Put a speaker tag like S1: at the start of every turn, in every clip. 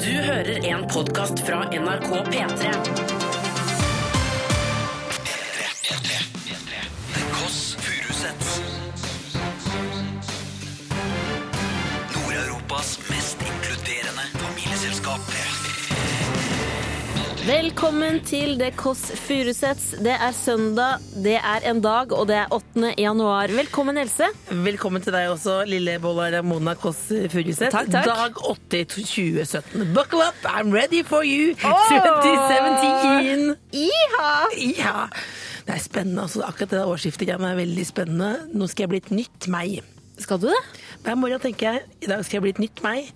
S1: Du hører en podkast fra NRK P3.
S2: The Koss Furusets Nord-Europas mest inkluderende familieselskap
S3: Velkommen til The Kåss Furuseths. Det er søndag, det er en dag, og det er 8. januar. Velkommen, Else.
S4: Velkommen til deg også, lille Bolla Ramona Kåss Furuseth.
S3: Takk, takk.
S4: Dag 80 2017. Buckle up, I'm ready for you!
S3: Åh!
S4: 2017!
S3: Iha!
S4: Ja. Det er spennende. Altså, akkurat det der årsskiftet er veldig spennende. Nå skal jeg bli et nytt meg.
S3: Skal du det?
S4: Hver morgen tenker jeg i dag skal jeg bli et nytt meg.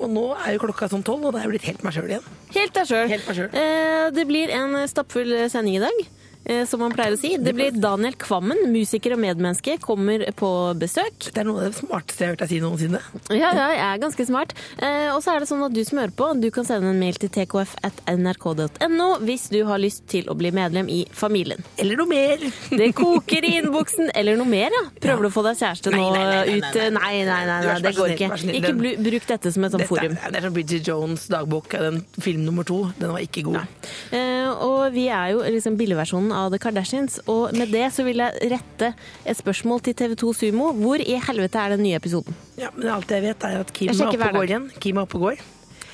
S4: Og nå er jo klokka sånn tolv, og da er jeg blitt helt meg sjøl igjen.
S3: Helt deg sjøl.
S4: Helt meg selv.
S3: Eh, det blir en stappfull sending i dag. eh, Som man pleier å si. Det blir Daniel Kvammen, musiker og medmenneske, kommer på besøk.
S4: Det er noe av det smarteste jeg har hørt deg si noensinne.
S3: Ja, ja, jeg er ganske smart. Eh, og så er det sånn at du som hører på, du kan sende en mail til tkf.nrk.no hvis du har lyst til å bli medlem i familien.
S4: Eller noe mer.
S3: Det koker i innboksen. Eller noe mer, ja. Prøver du å få deg kjæreste nå
S4: Nei, nei, nei, nei,
S3: ut? Nei, nei, nei, nei,
S4: Du er så
S3: det går
S4: snill,
S3: ikke.
S4: vær så snill.
S3: Ikke bru- bruk dette som et sånt
S4: Dette,
S3: forum.
S4: er- det er som Bridget Jones' dagbok. Den, film nummer to. Den var ikke god.
S3: Eh, og vi er jo liksom billigversjonen av The Kardashians, og med det så vil jeg rette et spørsmål til TV2 Sumo. Hvor i helvete er den nye episoden?
S4: Ja, men alt jeg vet er at Kim
S3: Jeg
S4: er
S3: sjekker
S4: oppe
S3: hver dag.
S4: og går igjen. Kim er oppe og går.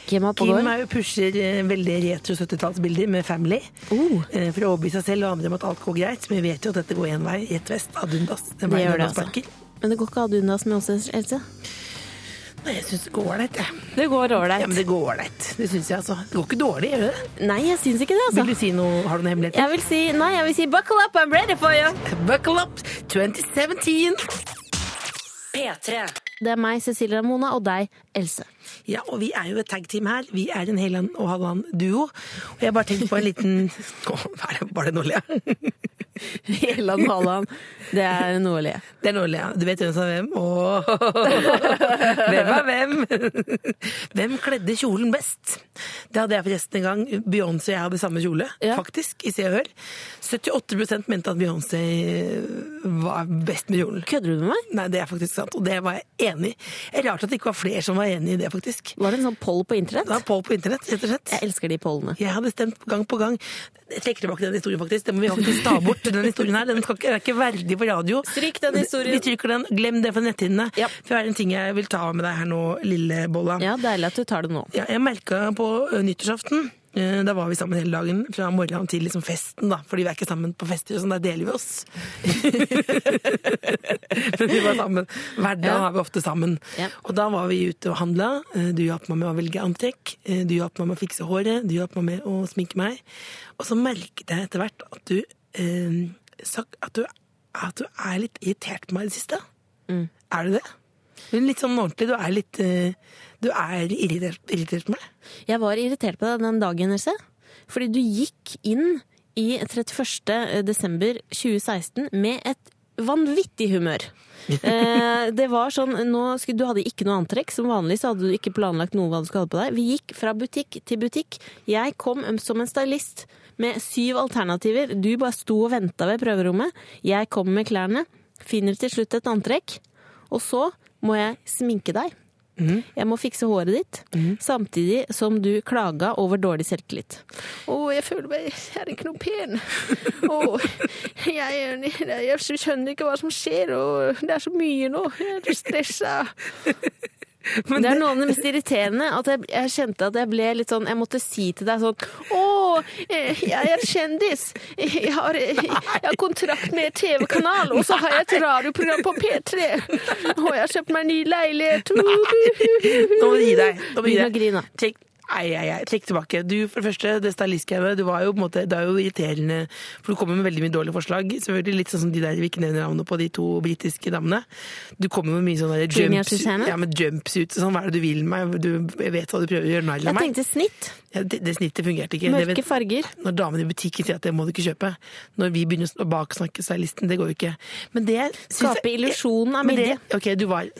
S3: Kim er på
S4: Kim
S3: gård.
S4: er jo pusher eh, veldig retro 70-tallsbilder med family.
S3: Oh.
S4: Eh, for å overbevise seg selv og andre om at alt går greit. Men vi vet jo at dette går én vei. Rett vest. Adundas.
S3: Det
S4: Den veien
S3: gjør det,
S4: Adundas
S3: altså.
S4: sparker.
S3: Men det går ikke ad undas med oss, Else? altså.
S4: Nei, jeg syns det går ålreit, jeg.
S3: Det går
S4: Ja, men
S3: ålreit.
S4: det går ålreit. Det syns jeg, altså. Det går ikke dårlig, gjør det det?
S3: Nei, jeg syns ikke det,
S4: Vil
S3: altså.
S4: du si noe? Har du noen hemmeligheter?
S3: Jeg vil si Nei, jeg vil si buckle up, I'm ready for you!
S4: Buckle up 2017!
S1: P3.
S3: Det er meg, Cecilie Ramona, og deg, Else.
S4: Ja, og vi er jo et tagteam her. Vi er en Helland og Halland duo. Og jeg har bare tenkt på en liten Åh, er det- Var det nå, Lea?
S3: Helland Haaland, det er noe å le.
S4: Det er nålig, ja. Du vet hvem som er hvem? Åh. Hvem er hvem? Hvem kledde kjolen best? Det hadde jeg forresten en gang. Beyoncé og jeg hadde samme kjole,
S3: Ja.
S4: faktisk, i Se og Hør. 78 mente at Beyoncé eh, var best med kjolen.
S3: Kødder du med meg?
S4: Nei, det er faktisk sant, og det var jeg enig i. Det er Rart at det ikke var flere som var enig i det, faktisk.
S3: Var det en sånn poll på internett?
S4: Det var på på internett, rett og slett.
S3: Jeg elsker de pollene.
S4: Jeg hadde stemt gang på gang. Jeg trekker tilbake den historien, faktisk. Den må vi faktisk ta bort. Den historien her, den skal ikke, den er ikke verdig på radio.
S3: Stryk den historien.
S4: Vi stryker den. Glem det fra netthinnene.
S3: Ja.
S4: For det er en ting jeg vil ta med deg her nå, lille Bolla.
S3: Ja, Deilig at du tar det nå.
S4: Ja, jeg merka på ø, nyttårsaften ø, da var vi sammen hele dagen, fra morgenen til liksom festen. da, Fordi vi er ikke sammen på fester, sånn der deler vi oss. Men vi var sammen. Hver dag er vi ofte sammen.
S3: Ja.
S4: Og da var vi ute og handla. Eh, Du hjalp meg med å velge antrekk. eh, Du hjalp meg med å fikse håret. Du hjalp meg med å sminke meg. Og så merket jeg etter hvert at du, eh, sa, at du, at du er litt irritert på meg i det siste. Er du det? Men litt sånn ordentlig. Du er litt eh, Du er irritert, irritert på meg.
S3: Jeg var irritert på deg den dagen, Else. Fordi du gikk inn i 31. desember 2016 med et vanvittig humør. eh, det var sånn, nå skulle, Du hadde ikke noe antrekk. Som vanlig så hadde du ikke planlagt noe hva du skulle ha på deg. Vi gikk fra butikk til butikk. Jeg kom som en stylist med syv alternativer. Du bare sto og venta ved prøverommet. Jeg kommer med klærne. Finner til slutt et antrekk. Og så må jeg sminke deg.
S5: Mhm.
S3: Jeg må fikse håret ditt, samtidig som du klaga over dårlig selvtillit.
S5: Å, jeg føler meg Jeg er ikke noe pen. Å, jeg, jeg, jeg skjønner ikke hva som skjer, og det er så mye nå. Jeg er stressa.
S3: det er noe av det mest irriterende at jeg, jeg kjente at jeg ble litt sånn Jeg måtte si til deg sånn
S5: Å, eh, jeg er kjendis. Jeg har, eh, jeg har kontrakt med en TV-kanal, og så har jeg et radioprogram på P3. Og jeg har kjøpt meg ny leilighet.
S4: Nå må du gi deg. Nå må du gi
S3: Begynn
S4: deg.
S3: å grine.
S4: Trekk, nei, nei, nei, trekk tilbake. Du, for det første, det stylistgreiene, du var jo på en måte, det er jo irriterende, for du kommer med veldig mye dårlige forslag. Selvfølgelig litt sånn som de der, vi ikke nevner navnet på de to britiske damene. Du kommer med mye sånn der
S3: Junior
S4: jumps,
S3: Susanne?
S4: ja, men jumpsuits og sånn, hva er det du vil meg? Du jeg vet hva du prøver å gjøre narr av
S3: Jeg
S4: meg.
S3: tenkte snitt.
S4: Ja, det, det snittet fungerte ikke. Det
S3: Mørke
S4: vet-
S3: farger.
S4: når damene i butikken sier at det må du ikke kjøpe. Når vi begynner å baksnakke stylisten, det går jo ikke. Men det synes
S3: Skape
S4: jeg-
S3: illusjonen av
S4: Men det-
S3: midje.
S4: Ok, du var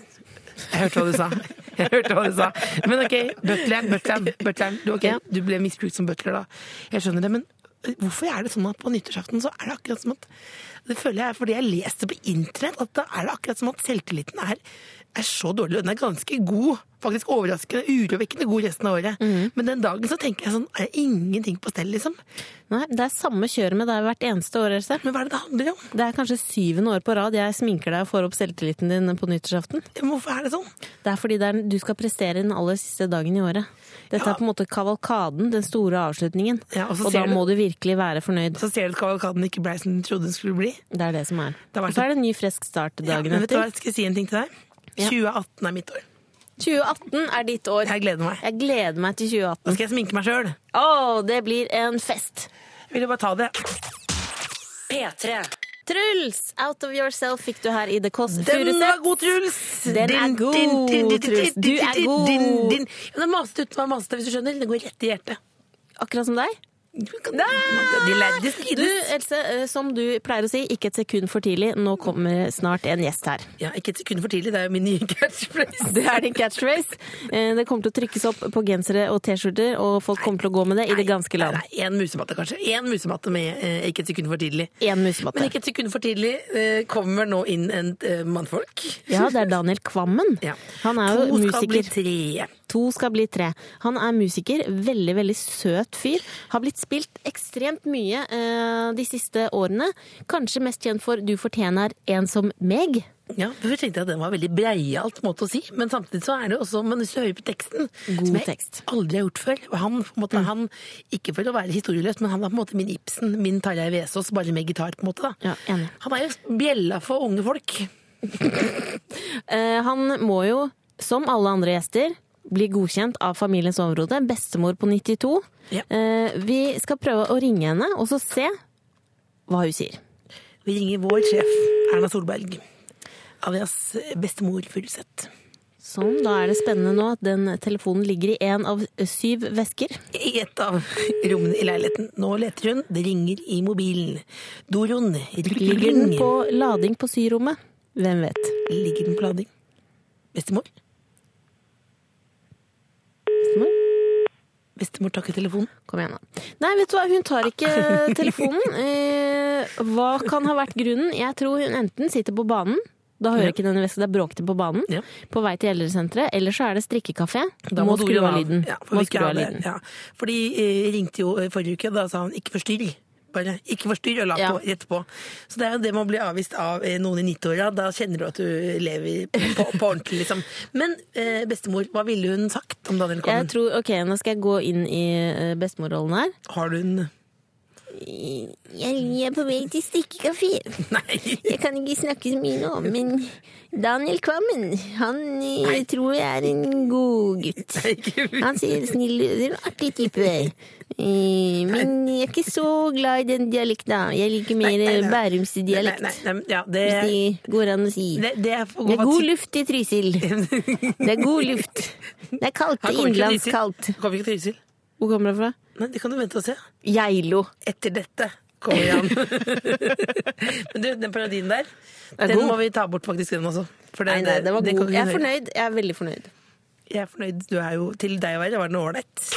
S4: Jeg hørte hva du sa. Jeg hørte hva du sa. Men ok, butleren, butleren, butleren. Du, ok,
S3: Ja.
S4: du ble misbrukt som butler da. Jeg skjønner det, men hvorfor er det sånn at på nyttårsaften så er det akkurat som at Det føler jeg er fordi jeg leste på internett, at da er det akkurat som at selvtilliten er er så dårlig, og den er ganske god. Faktisk overraskende, urovekkende god resten av året. Men den dagen så tenker jeg sånn, er det ingenting på stell, liksom?
S3: Nei, det er samme kjøret med deg hvert eneste år. Else.
S4: Men hva er det det handler om?
S3: Det er kanskje syvende år på rad jeg sminker deg og får opp selvtilliten din på nyttårsaften.
S4: Men Hvorfor er det sånn?
S3: Det er fordi det er, du skal prestere den aller siste dagen i året. Dette
S4: Ja.
S3: er på en måte kavalkaden, den store avslutningen.
S4: Ja, og
S3: og
S4: så ser
S3: da
S4: du-
S3: må du virkelig være fornøyd.
S4: Så ser du at kavalkaden ikke ble som du trodde den skulle bli.
S3: Det er det som er.
S4: Det har vært
S3: Og så er det en ny frisk start
S4: Ja,
S3: dagen
S4: men vet du hva,
S3: etter.
S4: jeg skal si en ting til deg.
S3: Ja.
S4: 2018 er mitt år.
S3: 2018 er ditt år.
S4: Jeg gleder meg.
S3: Jeg gleder meg til
S4: Nå
S3: 2018.
S4: skal jeg sminke meg sjøl.
S3: Å, det blir en fest!
S4: Vil du bare ta det?
S1: P3.
S3: Truls! Out of yourself fikk du her i The Kåss
S4: Den var
S3: Furuseth.
S4: god, Truls!
S3: Den er god, Truls. Du er god.
S4: Ja, Den maste uten å være masete, hvis du skjønner. Den går rett i hjertet.
S3: Akkurat som deg.
S4: Du kan- De lærde
S3: Du,
S4: strides.
S3: Else, eh, som du pleier å si, ikke et sekund for tidlig. Nå kommer snart en gjest her.
S4: Ja, ikke et sekund for tidlig, det er jo min nye catchphrase.
S3: Det er din catchphrase. Eh, Det kommer til å trykkes opp på gensere og T-skjorter, og folk kommer til å gå med det i det ganske land.
S4: Nei, én musematte, kanskje. Én musematte med eh, ikke et sekund for tidlig.
S3: Én
S4: Men
S3: musematte.
S4: ikke et sekund for tidlig eh, kommer nå inn en eh, mannfolk.
S3: Ja, det er Daniel Kvammen.
S4: Ja.
S3: Han er jo
S4: To skal bli
S3: musiker.
S4: tre.
S3: To skal bli tre. Han er musiker. Veldig, veldig søt fyr. Har blitt spilt ekstremt mye eh, de siste årene. Kanskje mest kjent for 'Du fortjener en som meg'.
S4: Ja, Først tenkte jeg at den var veldig breialt måte å si, men samtidig så er det jo også Men hvis du hører på teksten,
S3: God
S4: som jeg
S3: tekst. Mm.
S4: aldri har gjort før og han, på en måte, han, Ikke for å være historieløs, men han er på en måte min Ibsen, min Tarjei Vesaas, bare med gitar, på en måte. da.
S3: Ja, enig.
S4: Han er jo bjella for unge folk.
S3: Eh, han må jo, som alle andre gjester, bli godkjent av Familiens overhode. Bestemor på 92.
S4: Ja.
S3: Eh, vi skal prøve å ringe henne og så se hva hun sier.
S4: Vi ringer vår sjef, Erna Solberg. Alias bestemor Furuseth.
S3: Sånn, Da er det spennende nå at den telefonen ligger i én av syv vesker.
S4: I et av rommene i leiligheten. Nå leter hun. Det ringer i mobilen. Doroen
S3: Ligger den på lading på syrommet? Hvem vet.
S4: Ligger den på lading? Bestemor?
S3: Bestemor?
S4: Bestemor takker telefonen.
S3: Kom igjen, da. Nei, vet du hva, hun tar ikke telefonen. Eh, hva kan ha vært grunnen? Jeg tror hun enten sitter på banen. Da hører ikke denne veska, det er bråkete på banen.
S4: Ja.
S3: På vei til eldresenteret. Eller så er det strikkekafé.
S4: Da
S3: må
S4: du
S3: skru av
S4: av.
S3: lyden.
S4: Ja, for
S3: må
S4: vi
S3: skru
S4: skal
S3: av
S4: ha det.
S3: lyden.
S4: Ja. Fordi eh, ringte jo eh, forrige uke, da sa han ikke forstyrr. Bare ikke forstyrr, og la
S3: Ja.
S4: på rett på. Så det er jo det med å bli avvist av eh, noen i 90-åra. Da kjenner du at du lever på, på ordentlig, liksom. Men eh, bestemor, hva ville hun sagt om Daniel
S3: Jeg
S4: Kommen?
S3: tror, ok, Nå skal jeg gå inn i eh, bestemorrollen her.
S4: Har du en
S6: Jeg er på vei til strikkekafé.
S4: Nei!
S6: Jeg kan ikke snakke så mye nå, men Daniel Kvammen, han eh, tror jeg er en god gutt. Han ser snill ut, det er en artig type. Eh, Men jeg er ikke så glad i den dialekta. Jeg liker
S4: Nei, nei,
S6: mer
S4: nei.
S6: Bærumsdialekt,
S4: Nei, nei, nei, ja, det,
S6: hvis det går an å si.
S4: det, det er for
S6: Det er god luft i Trysil. Det er god luft. Det er kaldt.
S4: Han kommer ikke til Trysil.
S6: Innlandskaldt.
S4: Han Kommer ikke til Trysil.
S3: Hvor kommer det fra?
S4: Nei, det kan du vente og se.
S3: Geilo.
S4: Etter dette kommer han. Men du, den parodien der,
S3: er
S4: den
S3: god.
S4: må vi ta bort faktisk, den også. For
S3: Nei, nei, det var
S4: det kan
S3: god.
S4: ikke
S3: Jeg er
S4: høre.
S3: fornøyd. Jeg er veldig fornøyd.
S4: Jeg er fornøyd. Du er jo til deg å være, var den ålreit?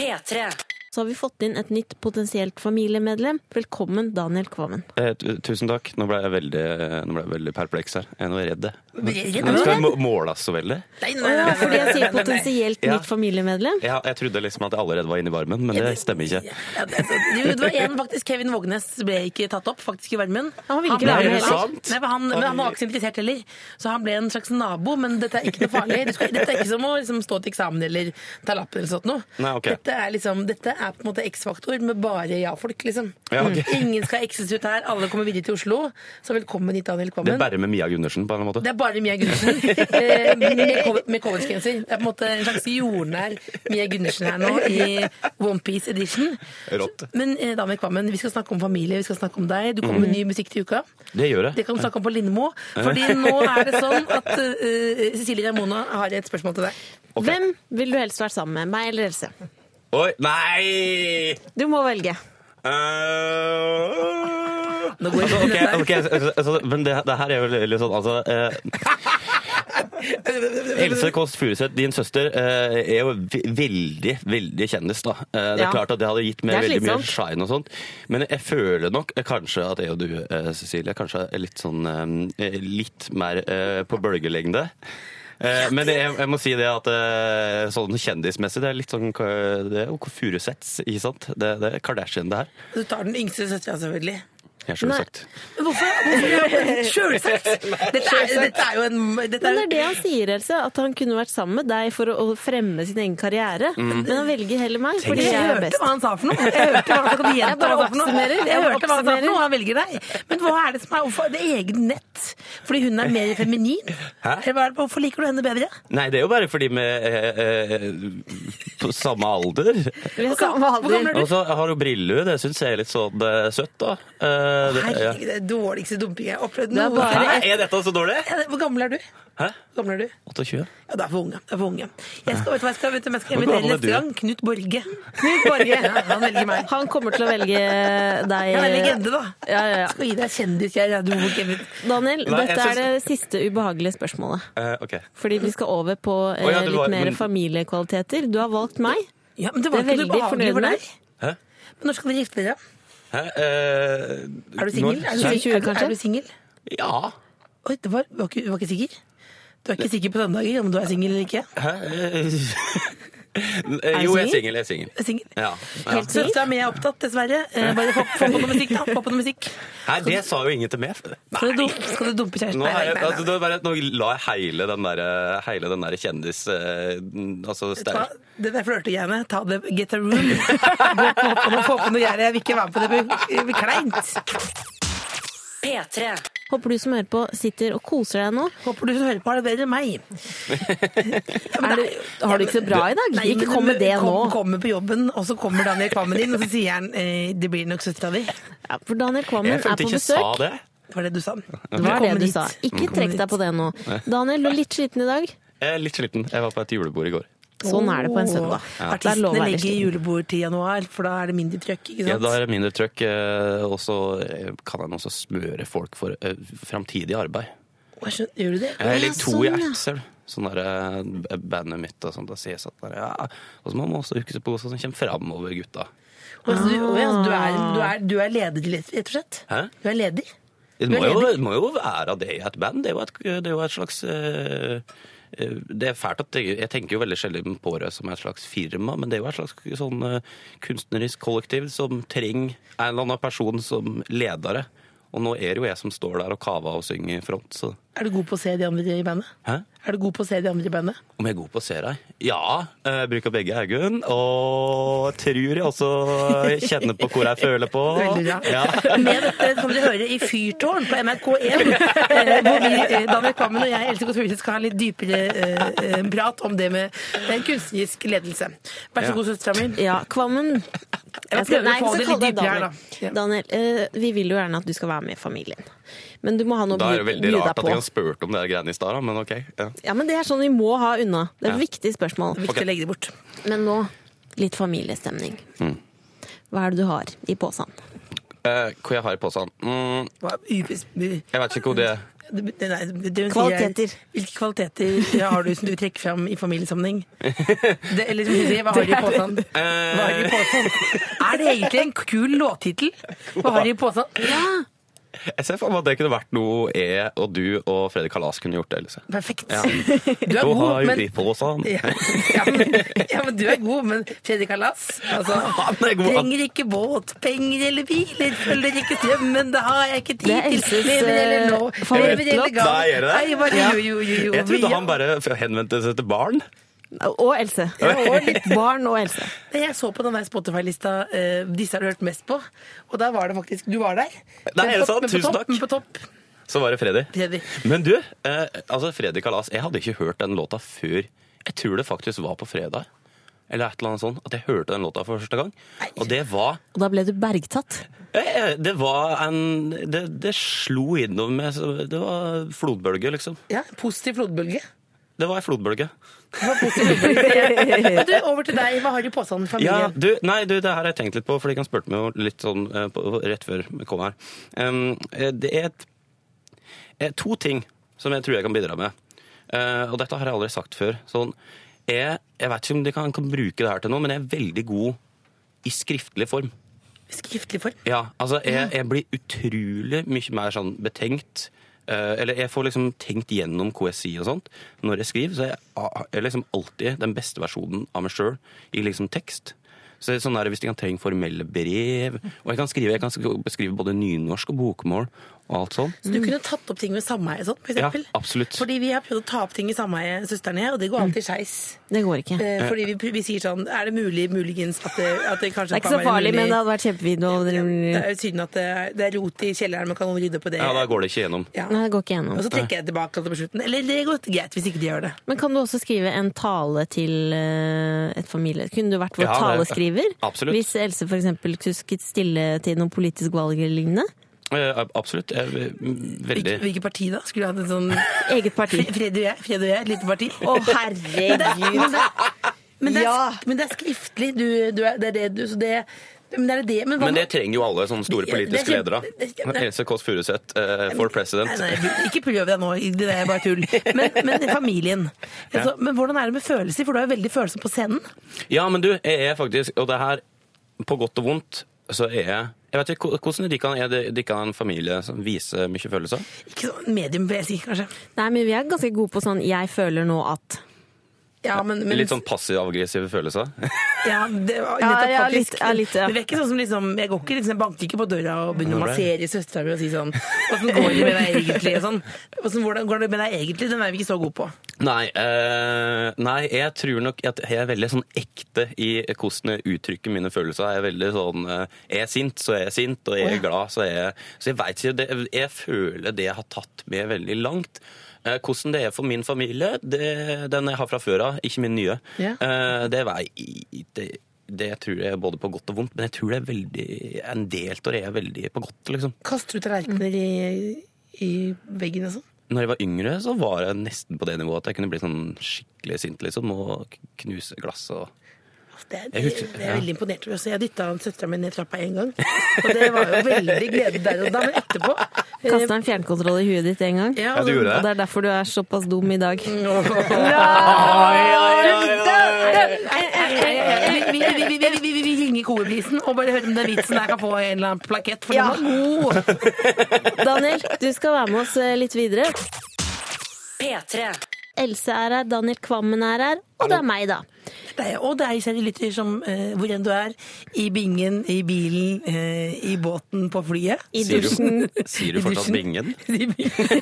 S1: P3.
S3: Så har vi fått inn et nytt potensielt familiemedlem. Velkommen, Daniel Kvammen.
S7: Eh, tu- tusen takk. Nå ble jeg veldig, nå ble jeg veldig perpleks her. Jeg er nå redd.
S4: Redd?
S7: Men skal jeg må- måles så veldig?
S4: Nei, nei,
S3: Ja, fordi jeg sier
S4: nei, nei, nei.
S3: potensielt
S7: Ja.
S3: nytt familiemedlem.
S7: Jeg, jeg trodde liksom at jeg allerede var inne i varmen, men det stemmer ikke.
S4: Ja, det, altså, jo, det var en faktisk, Kevin Vågnes ble ikke tatt opp faktisk i varmen.
S3: Han ville ikke
S4: ble-
S3: være med
S7: heller. Sant.
S4: Nei, for han, men han var ikke så interessert heller, så han ble en slags nabo. Men dette er ikke noe farlig. Du skal, dette er ikke som å liksom, stå til eksamen eller ta lappen eller sånt noe.
S7: Nei, ok.
S4: Dette er liksom, dette er på en måte X-faktor med bare ja-folk, liksom.
S7: Ja, ok.
S4: Ingen skal X-es ut her, alle kommer videre til Oslo. Så velkommen hit, Daniel
S7: Det
S4: Kvammen.
S7: bærer med Mia Gundersen på en eller annen
S4: Det
S7: måte.
S4: er bare Mia Gundersen eh, med col- med collegegenser. Det er på en måte en slags jordnær Mia Gundersen her nå i Onepiece edition.
S7: Rått.
S4: Men eh, Daniel Kvammen, vi skal snakke om familie, vi skal snakke om deg. Du kommer med ny musikk til uka.
S7: Mm. Det gjør
S4: Det
S7: jeg.
S4: kan du snakke om på Lindmo. Fordi nå er det sånn at eh, Cecilie Ramona har et spørsmål til deg.
S7: Ok.
S3: Hvem vil du helst vært sammen med? Meg eller Else?
S7: Oi, nei!
S3: Du må velge.
S7: Eh,
S4: Nå går jeg
S7: altså,
S4: inn i dette
S7: ok,
S4: her.
S7: altså, ok, altså, altså, men det, det her er jo litt sånn, altså eh, altså, Else Kåss Furuseth, din søster, eh, er jo ve- veldig, veldig kjendis, da. Eh, Det er
S3: Ja.
S7: klart at det hadde gitt meg
S3: Det er
S7: veldig mye
S3: slitsomt.
S7: shine og sånt, men jeg føler nok eh, kanskje at jeg og du, eh, Cecilie, kanskje er litt sånn eh, litt mer eh, på bølgelengde. Eh, Men jeg, jeg må si det at eh, sånn kjendismessig, det er litt sånn eh, Det er jo Furuseths, ikke sant? Det, det er Kardashian, det her.
S4: Du tar den yngste søstera, selvfølgelig.
S7: Jeg har selv sagt.
S4: Men Hvorfor? hvorfor Sjølsagt! Dette, er- dette er jo en dette
S3: Men det
S4: er,
S3: er det han sier, Else. At han kunne vært sammen med deg for å å fremme sin egen karriere.
S7: Mm.
S3: Men han velger heller meg, fordi
S4: jeg
S3: jeg er
S4: hørte
S3: best.
S4: hva han sa for noe. Jeg hørte hva han sa, jeg
S3: bare
S4: hva han sa for noe.
S3: oppsummerer.
S4: Jeg
S3: Jeg bare
S4: hørte hva han sa for noe,
S3: oppsummerer.
S4: og han velger deg. Men hva er det som er hvorfor det er egen nett? Fordi hun er mer feminin?
S7: Hæ?
S4: Eller hva er det, hvorfor liker du henne bedre?
S7: Nei, det er jo bare fordi vi er eh, eh, på samme alder.
S3: Vi har samme alder.
S7: Og så har hun briller, det syns jeg er litt sånn eh, søtt, da. Eh, det, ja.
S4: Herregud, det er dårligste dumping jeg har opplevd
S3: er
S4: noe.
S3: bare-
S7: Hæ, er dette så dårlig?
S4: Hvor gammel er du?
S7: Hæ?
S4: Hvor gammel er du?
S7: 28?
S4: Ja, det er for unge. Det er for unge. Jeg skal, vet du hva jeg skal, vet du, hvem jeg skal
S7: Hvor gammel
S4: invitere
S7: er
S4: neste
S7: du?
S4: gang? Knut Borge. Knut Borge, ja, Han velger meg.
S3: Han kommer til å velge deg.
S4: Han er legende, da.
S3: Ja, ja, ja.
S4: Skal gi deg kjendis, jeg. Ja, du må ikke
S3: Daniel,
S7: Nei, jeg
S3: dette er det
S7: synes-
S3: siste ubehagelige spørsmålet.
S7: Eh, ok.
S3: Fordi vi skal over på eh,
S7: Å, ja, det
S3: litt
S7: var-
S3: mer
S7: men-
S3: familiekvaliteter. Du har valgt meg.
S4: Ja, men
S3: Det
S4: det
S3: er
S4: var ikke
S3: veldig
S4: noe behagelig for
S3: fornøyende.
S4: deg.
S7: Hæ?
S4: Men når skal dere gifte dere?
S7: Hæ? Eh,
S4: Er du singel?
S7: når-
S4: Er du-
S3: 2020
S4: er du-
S3: kanskje?
S4: Er du singel?
S7: Ja.
S4: Oi, det var, var, ikke, var ikke sikker? Du er ikke sikker på søndager om du er singel eller ikke?
S7: Hæ? Eh, jo, jeg er singel. Jeg er singel.
S4: Er singel?
S7: Ja. ja.
S3: Helt sikker?
S4: Søstera mi er opptatt, dessverre. Eh, Bare få, få på noe musikk, da. Få på noe musikk.
S7: Nei, det sa jo ingen til meg.
S4: Skal du, dum- skal du dumpe kjæresten?
S7: Nå,
S4: Nei,
S7: er
S4: nei,
S7: jeg,
S4: nei,
S7: altså,
S4: nei.
S7: det er bare, nå la jeg heile den der, heile den der kjendis... eh, altså,
S4: Vet du hva?
S7: sterk.
S4: Det der flørtegreiene, ta det, get a room. Gå på, få på noe, få på noe gjerde. Jeg vil ikke være med på det, det, blir- det blir kleint.
S1: P3.
S3: Håper du som hører på sitter og koser deg nå.
S4: Håper du som hører på har det bedre enn meg.
S3: Er du, har du ikke så bra i dag?
S4: Nei,
S3: Ikke
S4: men
S3: kom med det
S4: kom-
S3: nå.
S4: Kommer på jobben, og så kommer Daniel Kvammen inn, og så sier han eh, 'det blir nok søstera di'.
S3: Ja, for Daniel Kvammen
S7: Jeg
S3: er
S7: følte
S3: på
S7: ikke sa
S3: besøk.
S7: det.
S4: Det var det du Mm. sa.
S3: Det var det
S4: Velkommen
S3: du
S4: hit.
S3: sa. Ikke
S4: Velkommen
S3: trekk
S4: hit.
S3: deg på det nå. Daniel, du er litt sliten i dag.
S7: Jeg er litt sliten. Jeg var på et julebord i går.
S3: Sånn er det på en søndag.
S4: Åh,
S3: Det er lov å
S4: Artistene
S3: være
S4: legger
S3: sliten.
S4: julebord til januar, for da er det mindre trøkk. ikke
S7: Ja,
S4: sant?
S7: da er det mindre trøkk, eh, og så eh, kan en også smøre folk for eh, framtidig arbeid.
S4: Åh, jeg skjønner, Gjør du det?
S7: Jeg legger to
S3: sånn,
S7: i
S3: ja.
S7: ett selv. Sånn der eh, bandet mitt og sånt. Da sier jeg sånn der, ja. Og så må man også huske på hva som kommer framover, gutta.
S4: Åh, så du, åh, ja, du, er, du, er, du er leder, rett rett og slett?
S7: Hæ?
S4: Du er leder?
S7: Det
S4: Du
S7: må
S4: er
S7: jo,
S4: ledig.
S7: det må jo være det i et band. Det er jo et, det er jo et slags eh, eh, det er fælt at jeg, jeg tenker jo veldig sjelden på det som et slags firma, men det er jo et slags sånn eh, kunstnerisk kollektiv som trenger en eller annen person som ledere. Og nå er det jo jeg som står der og kaver og synger i front, så
S4: Er du god på å se de andre i bandet?
S7: Hæ?
S4: Er du god på å se de andre i bandet?
S7: Om jeg er god på å se deg? Ja. eh, Jeg bruker begge øyne. Og tror jeg også kjenner på hvor jeg føler på.
S4: Veldig bra.
S7: Ja.
S4: Med dette kan du høre i Fyrtårn på NRK1, eh, hvor vi, eh, Daniel Kvammen og jeg Else Kåss Furuseth, skal ha en litt dypere eh, eh, prat om det med eh, kunstnerisk ledelse. Vær så
S7: Ja.
S4: god, søstera mi.
S3: Ja, Kvammen. Jeg
S4: prøver å
S3: nei,
S4: få
S3: jeg kalle
S4: det litt
S3: deg
S4: dypere
S3: Daniel.
S4: her, da. Ja.
S3: Daniel, eh, vi vil jo gjerne at du skal være med i familien. Men du må ha noe å
S7: Da
S3: by-
S7: er det veldig
S3: bjuda
S7: rart at
S3: på.
S7: jeg har spurt om det der greiene i stad, da, men OK. Ja.
S3: Ja, men Det er sånn vi må ha unna. Det er et
S7: Ja.
S3: viktig spørsmål.
S4: Viktig å legge det bort.
S3: Men nå, litt familiestemning.
S7: Mm.
S3: Hva er det du har i posen?
S7: Eh, hva jeg har i posen? Mm,
S4: Hva- ubes- bu-
S7: jeg vet ikke hvor det er.
S4: det- det- nei, det- det hun sier er-
S3: Kvaliteter.
S4: Hvilke kvaliteter ja, har du som du trekker fram i familiesammenheng? Det, eller som hun sier, hva har de i posen? Hva har de i posen? Er det egentlig en kul låttittel? Hva har de i posen?
S7: Jeg ser for meg at det kunne vært noe jeg og du og Fredrik Kalas kunne gjort. Else.
S4: Perfekt.
S7: Ja.
S4: Du er
S7: Hva
S4: god,
S7: har
S4: men
S7: de i posen?
S4: Ja, ja, men, ja, men du er god, men Fredrik Alas altså,
S7: Han er god.
S4: Trenger ikke båt, penger eller biler, følger ikke strømmen, det har jeg ikke tid
S3: Det er
S4: til.
S3: Elses,
S4: Lever eller nå,
S3: eh,
S4: lever
S3: favorittlåt.
S4: eller gal.
S7: Nei, er det det?
S4: Nei, bare, jo, jo, jo, jo,
S7: Jeg trodde
S4: vi-
S7: han bare henvendte seg til barn.
S3: Og Else.
S4: og litt-
S3: Barn og Else.
S4: Nei, Jeg så på den der Spotify-lista eh, disse har du hørt mest på, og der var det faktisk Du var der.
S7: Nei,
S4: Men
S7: er det
S4: på-
S7: sant?
S4: men på
S7: Tusen
S4: topp,
S7: takk.
S4: Men på topp,
S7: Så var det Freddy.
S4: Fredrik.
S7: Men du, eh, altså Freddy Kalas, jeg hadde ikke hørt den låta før Jeg tror det faktisk var på fredag. Eller et eller annet sånt, at jeg hørte den låta for første gang. Og det var
S3: Og da ble du bergtatt.
S7: eh, eh, Det var en Det, det slo innover meg. så Det var flodbølge, liksom.
S4: Ja, positiv flodbølge.
S7: Det var ei flodbølge.
S4: Men du, over til deg. Hva har du i posen,
S7: Ja,
S4: familien?
S7: du, nei, du, det her har jeg tenkt litt på, fordi han spurte meg jo litt sånn eh, på, rett før vi kom her. Em, eh, det er et, eh, to ting som jeg tror jeg kan bidra med. Eh, og dette har jeg aldri sagt før. Sånn, jeg, jeg vet ikke om de kan, kan bruke det her til noe, men jeg er veldig god i skriftlig form.
S4: Skriftlig form.
S7: Ja, altså jeg, jeg blir utrolig mye mer sånn betenkt. eh, eller jeg får liksom tenkt gjennom hva jeg sier og sånt. Når jeg skriver, så er jeg, a- jeg er liksom alltid den beste versjonen av meg sjøl i liksom tekst. Så det er sånn der, Hvis jeg kan trenge formelle brev Og jeg kan skrive, jeg kan sk- beskrive både nynorsk og bokmål og alt sånn.
S4: Så du kunne tatt opp ting med sameie og sånn, for
S7: Ja,
S4: eksempel?
S7: absolutt. Mm.
S4: Fordi vi har prøvd å ta opp ting i sameie, søstrene her, og det går alltid skeis.
S3: Det går ikke.
S4: Eh, Fordi vi, vi sier sånn Er det mulig, muligens, at det, at det kanskje
S3: Det er ikke så farlig, men det hadde vært
S4: Det
S3: kjempevideo.
S4: er jo synd at det er, det er rot i kjelleren, men kan noen rydde på det?
S7: Ja, Da går det ikke gjennom.
S4: Ja.
S3: Nei, det går ikke gjennom.
S4: Og så trekker jeg tilbake alt på slutten. Eller det går greit hvis ikke de gjør det.
S3: Men kan du også skrive en tale til eh, et familie? Kunne du vært vår
S7: Ja, det-
S3: taleskriver?
S7: absolutt.
S3: Hvis Else for eksempel kusket stille til noe politisk valg eller lignende?
S7: Eh, absolutt. Jeg, er ve- veldig
S4: Hvilket hvilket parti da? Skulle du hatt en sånn
S3: Eget parti.
S4: Fre- Fred og jeg, Fred og jeg, et lite parti.
S3: Å, herregud!
S4: Men det, men, det er,
S3: Ja.
S4: sk- men det er skriftlig, du, du er, det er det du så det, Men det er det men hva
S7: Men det
S4: med-
S7: trenger jo alle sånne store
S4: Det- det er
S7: politiske
S4: kjempe-
S7: ledere.
S4: det er kjempe-
S7: Else Kåss Furuseth eh, for president.
S4: Nei, nei, ikke prøv deg nå, det er bare tull. Men, men familien. Altså, men hvordan er det med følelser? For du er jo veldig følsom på scenen.
S7: Ja, men du, jeg er faktisk, og det her, på godt og vondt, så er jeg Jeg vet ikke, hvordan er de kan, er det- de kan en familie som viser mye følelser?
S4: Ikke sånn medium, vil jeg si, kanskje.
S3: Nei, men vi er ganske gode på sånn 'jeg føler nå at'.
S4: Ja, men, men,
S7: Litt sånn passiv-aggressive følelser?
S4: Ja, det var
S3: Ja,
S4: nettopp
S3: ja,
S4: faktisk.
S3: litt- ja, litt, ja.
S4: Men det er ikke sånn som liksom, jeg går ikke, liksom, jeg banker ikke på døra og begynner å
S7: Nei.
S4: massere søstera mi og si sånn, hvordan går det med deg egentlig? Og sånn. Hvordan hvordan går det med deg egentlig? Den er vi ikke så gode på.
S7: Nei, eh, nei, jeg tror nok at jeg er veldig sånn ekte i hvordan jeg uttrykker mine følelser. Jeg er veldig sånn eh, Er jeg sint, så er jeg sint, og er jeg glad, så er jeg Så jeg veit ikke. Det, jeg føler det har tatt meg veldig langt. Eh, Hvordan det er for min familie, det, den jeg har fra før av, ikke min nye,
S4: Ja.
S7: eh, det, vei- i- det, det tror jeg er både på godt og vondt, men jeg tror det er veldig En del av det er veldig på godt, liksom.
S4: Kaster du tallerkener i, i veggen og sånn?
S7: Når jeg var yngre, så var jeg nesten på det nivået at jeg kunne bli sånn skikkelig sint liksom, og k- knuse glass. og...
S4: Det, er-
S7: Jeg
S4: det,
S7: husker-
S4: det er
S7: ja.
S4: veldig imponert over. Så jeg dytta søstera mi ned trappa én gang. Og det var jo veldig glede der og da, men etterpå
S3: Kasta en fjernkontroll i huet ditt en gang.
S4: Ja,
S7: Ja, du gjorde
S3: Og det er derfor du er såpass dum i dag.
S4: Vi, vi, vi, vi, vi, vi, vi ringer Kobeprisen og bare hører om den vitsen der kan få en eller annen plakett. For den var god!
S3: Daniel, du skal være med oss eh, litt videre.
S1: P3.
S3: Else er her, Daniel Kvammen er her, og det er meg, da.
S4: deg og deg, kjære lytter, som eh, hvor enn du er. I bingen, i bilen, eh, i båten, på flyet.
S3: I
S7: Sier
S3: dusjen.
S7: du, sier du fortsatt
S4: dusjen.
S7: bingen?
S4: I bingen.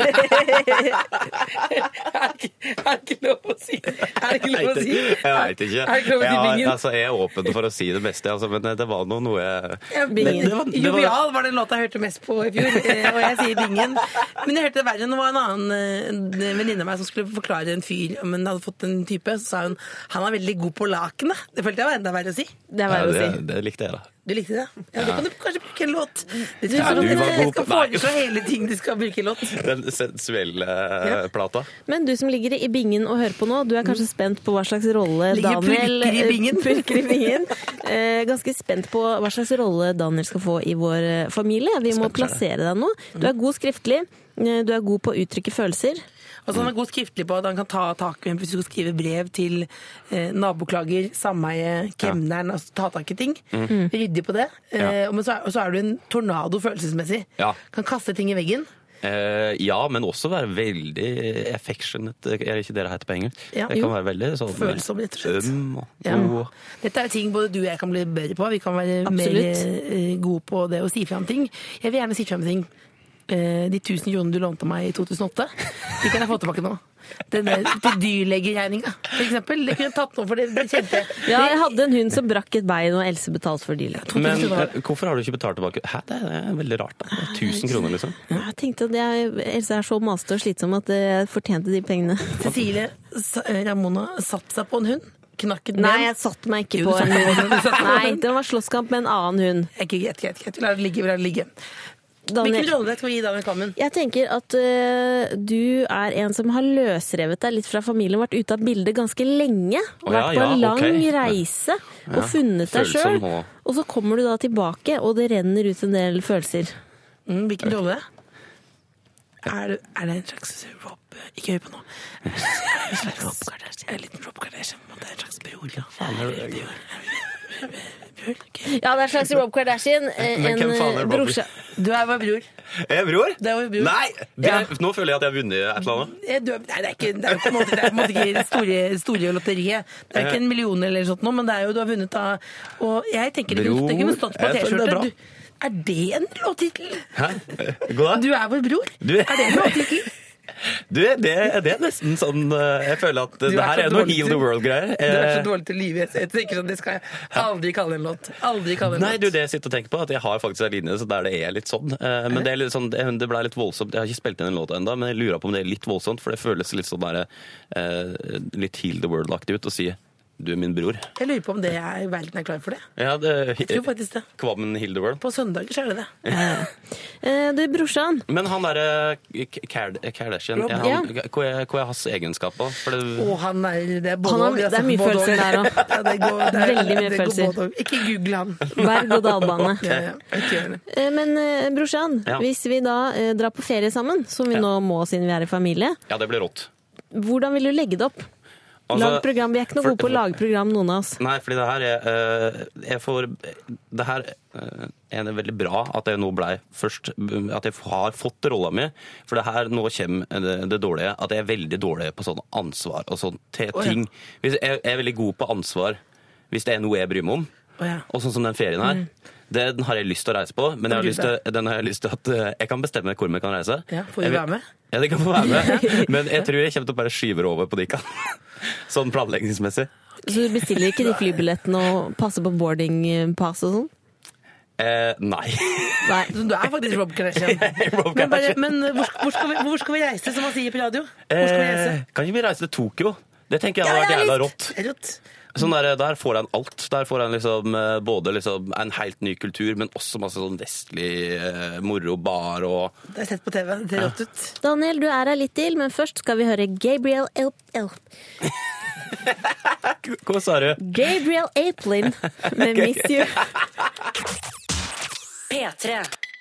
S4: er, det ikke, er det ikke lov å si? Er det ikke lov å si?
S7: Jeg veit
S4: Er
S7: ikke.
S4: det ikke lov å si
S7: Jeg-
S4: bingen?
S7: altså, jeg er åpen for å si det beste, altså, men det var noe, noe jeg
S3: Bingen.
S7: det var- det var-
S4: Jovial var den låta jeg hørte mest på i fjor, eh, og jeg sier bingen. Men jeg hørte det verre enn det var en annen eh, en venninne av meg som skulle forklare en fyr om hun hadde fått en type, så sa hun han er veldig god på lakenet. Det følte jeg var enda verre å si.
S3: Det er
S7: ja,
S3: verre å si.
S7: det, det likte jeg, da.
S4: Du likte det? Ja, Da kan du kanskje bruke en låt. Det tror
S7: Ja,
S4: jeg
S7: du
S4: jeg
S7: var
S4: skal
S7: god på- Nei.
S4: foreslå hele ting du skal bruke i låt.
S7: Den sensuelle eh, plata.
S3: Men du som ligger i bingen og hører på nå, du er kanskje spent på hva slags rolle
S4: Ligger og
S3: Daniel
S4: purker i
S3: eh,
S4: bingen.
S3: purker i bingen. Eh, Ganske spent på hva slags rolle Daniel skal få i vår eh, familie. Vi må
S7: Spent,
S3: plassere deg nå. Du er god skriftlig. eh, Du er god på å uttrykke følelser.
S4: Og så Altså, han er god skriftlig på at han kan ta tak i en hvis du skal skrive brev til eh, naboklager, sameie, kemneren, altså ta tak i ting.
S3: Mm.
S4: Ryddig på det. Eh, og men så er, og så er du en tornado følelsesmessig.
S7: Ja.
S4: Kan kaste ting i veggen.
S7: Eh, ja, men også være veldig affectionate, er det ikke det det heter på engelsk?
S4: Ja,
S7: jeg
S4: jo.
S7: kan være veldig sånn
S4: Følsom, rett og slett.
S7: øm og
S4: Ja.
S3: Oh.
S7: god.
S4: Dette er jo ting både du og jeg kan bli bedre på. Vi kan være
S3: Absolutt.
S4: mer eh, gode på det å si fra om ting. Jeg vil gjerne si fra om ting. Eh, De 1000 kronene du lånte av meg i 2008, de kan jeg få tilbake nå. Den der til dyrlegeregninga, for eksempel. Det kunne jeg tatt nå, for det, det kjente jeg.
S3: Ja, jeg hadde en hund som brakk et bein, og Else betalte for dyrlegen.
S7: Men eh, hvorfor har du ikke betalt tilbake? Hæ, det er veldig rart. da. 1000 kroner, liksom.
S3: Jeg tenkte at jeg, Else er så masete og slitsom at eh, jeg fortjente de pengene.
S4: Cecilie Sa- eh, Ramona satte seg på en hund. Knakket den.
S3: Nei, jeg satte meg ikke
S4: Jo,
S3: på en
S4: du satte deg på den.
S3: hund. Nei, det var slåsskamp med en annen hund.
S4: Ikke greit, greit, greit. Vi lar det ligge. vi lar det ligge.
S3: Daniel-
S4: Hvilken rolle skal vi gi Daniel Kvammen?
S3: Jeg tenker at øh, du er en som har løsrevet deg litt fra familien, vært ute av bildet ganske lenge.
S7: Å,
S3: vært
S7: ja,
S3: på
S7: ja,
S3: en lang
S7: ok.
S3: reise og
S7: Ja,
S3: funnet deg
S7: følsom
S3: sjøl.
S7: nå.
S3: Og så kommer du da tilbake, og det renner ut en del følelser.
S4: Mm, hvilken rolle? Er, du- er det en slags opp Ikke øye på nå. Sverger opp Kardashian. En liten Rob Kardashian. på en måte. En slags bror. Bror, ok.
S3: Ja, det er en slags Rob Kardashian. eh,
S7: Men
S3: En
S7: hvem faen er
S3: eh,
S7: Rob?
S3: brorsa
S4: Du er vår bror.
S7: Er jeg bror?
S4: Det er vår bror.
S7: Nei! Det er,
S4: Ja.
S7: Nå føler jeg at jeg har vunnet et eller annet.
S4: Eh, Du, er- nei, det er ikke det er på en måte, det er på en måte ikke det store, store lotteriet. Det er ikke en million eller sånt nå, men det er jo du har vunnet da. Og jeg tenker det kunne, det kunne stått på
S7: Bror, jeg føler det er bra.
S4: T-skjorte. Du- Er det en låttittel?
S7: Hæ? Eh, God dag.
S4: Du er vår bror.
S7: Du-
S4: Er det en låttittel?
S7: Du, det, det er nesten sånn eh, Jeg føler at eh,
S4: Du
S7: det
S4: så
S7: her er noe
S4: dårlig
S7: Heal
S4: til-
S7: the World-greier.
S4: Du er så
S7: Eh,
S4: dårlig til å lyve. Jeg tenker sånn, det skal jeg aldri kalle en låt. Aldri kalle en
S7: Nei,
S4: låt.
S7: du, det jeg sitter og tenker på, at jeg har faktisk en linje så der det er litt sånn. Eh, Men det, er litt sånn, det det ble litt voldsomt. Jeg har ikke spilt inn den låta ennå, men jeg lurer på om det er litt voldsomt, for det føles litt sånn der, eh, litt Heal the World-aktig ut å si du er min bror.
S4: Jeg lurer på om det er, verden er klar for det.
S7: Ja, det,
S4: Jeg tror faktisk det.
S7: Kvammen Heal the World.
S4: På søndager så er det det.
S3: Eh, Du, brorsan.
S7: Men han derre Kardashian,
S4: Rob,
S7: er
S3: ja.
S7: han- hva er hva er hans egenskaper? For det,
S4: Og han er Det er, både
S3: Han har-
S4: og, vi har
S3: det er mye
S4: snakket både
S3: følelser der
S4: og.
S3: også.
S4: Ja, det går- det er-
S3: Veldig mye
S4: det går
S3: følelser.
S4: både og. Ikke google han.
S3: Berg-og-dal-bane.
S4: Ja, ja, ikke gjør det.
S3: Eh, Men eh, brorsan,
S7: Ja.
S3: hvis vi da eh, drar på ferie sammen, som vi
S7: Ja.
S3: nå må siden vi er i familie,
S7: ja, det blir rått.
S3: hvordan vil du legge det opp?
S7: Altså-
S3: Lag program. Vi er ikke noe
S7: for-
S3: gode på å lage program, noen av oss.
S7: Nei, fordi det her er eh, Jeg får Det her eh, er det veldig bra at jeg nå blei først At jeg har fått rolla mi. For det her nå kommer det, det dårlige. At jeg er veldig dårlig på sånn ansvar og sånn til
S4: Å, ja.
S7: ting. Hvis jeg, jeg er veldig god på ansvar hvis det er noe jeg bryr meg om.
S4: Å, ja.
S7: Og sånn som den ferien her.
S4: Mm.
S7: Det, den har jeg lyst til å reise på, men jeg har
S4: blir
S7: lyst til, den har jeg lyst til at eh, jeg kan bestemme hvor vi kan reise.
S4: Ja, får vi
S7: Jeg vil-
S4: være med?
S7: Ja, det kan få være med. Men jeg tror jeg kommer til å bare skyve det over på de kan. Sånn planleggingsmessig.
S3: Så du bestiller ikke de flybillettene og passer på boarding eh, pass og sånn?
S7: Eh, nei.
S3: Nei.
S4: Så du er faktisk Rob Kardashian.
S7: Rob
S4: Men, bare,
S7: Kardashian.
S4: men hvor, sk- hvor, skal vi, hvor skal vi reise, som man sier på radio? Hvor skal vi reise?
S7: Eh, kan ikke vi reise til Tokyo? Det tenker jeg hadde vært jævla rått. Sånn der, der får han alt. Der får han liksom, eh, både liksom en helt ny kultur, men også masse sånn vestlig eh, moro, bar og
S4: Det har jeg sett på TV. Det ser rått ut.
S3: Daniel, du er her litt til, men først skal vi høre Gabriel Elp... Elp.
S7: Hva sa du?
S3: Gabriel Aplin med Miss You.
S1: P3.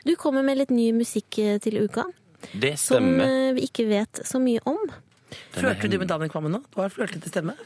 S3: Du kommer med litt ny musikk eh, til uka,
S7: Det
S3: som
S7: stemmer.
S3: eh, vi ikke vet så mye om.
S4: Flørter du med Daniel Kvammen nå? Du har flørtete stemme.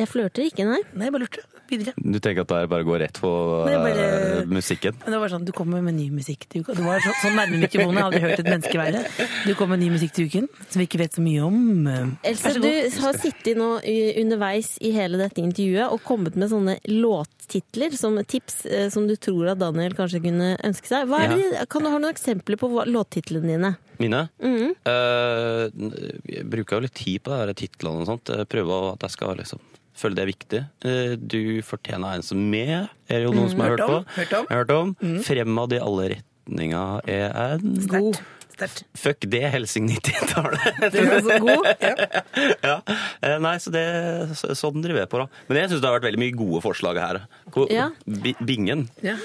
S3: Jeg flørter ikke, nei.
S4: Nei, jeg bare lurte. Videre.
S7: Du tenker at det her bare går rett på
S4: Nei, bare-
S7: eh, musikken?
S4: Men det var sånn, Du kommer med ny musikk til uka. Du var så, sånn nærme mikrofonen. Jeg har aldri hørt et menneske være. Du kommer med ny musikk til uken som vi ikke vet så mye om. Eh,
S3: Else,
S4: Vær så
S3: du
S4: god.
S3: har sittet nå i- underveis i hele dette intervjuet og kommet med sånne låttitler som tips eh, som du tror at Daniel kanskje kunne ønske seg. Hva er det, kan du ha noen eksempler på hva- låttitlene dine?
S7: Mine?
S4: Mm-hmm.
S7: Eh, jeg bruker jo litt tid på det her titlene og sånt. Jeg prøver å- at jeg skal liksom føle det er viktig. Eh, du fortjener en som meg, er det jo noen som har hørt,
S4: Mm. Hørt om,
S7: på.
S4: hørt om.
S7: Jeg har hørt om. Fremad i alle retninger er en
S4: God. Sterkt.
S7: Fuck det, Helsing 90-tallet!
S4: Du er altså god. Ja.
S7: ja. Eh, Nei, så det, så- sånn driver jeg på, da. Men jeg syns det har vært veldig mye gode forslag her. Hvor,
S3: Ja.
S7: Bi- Bingen,
S4: Ja.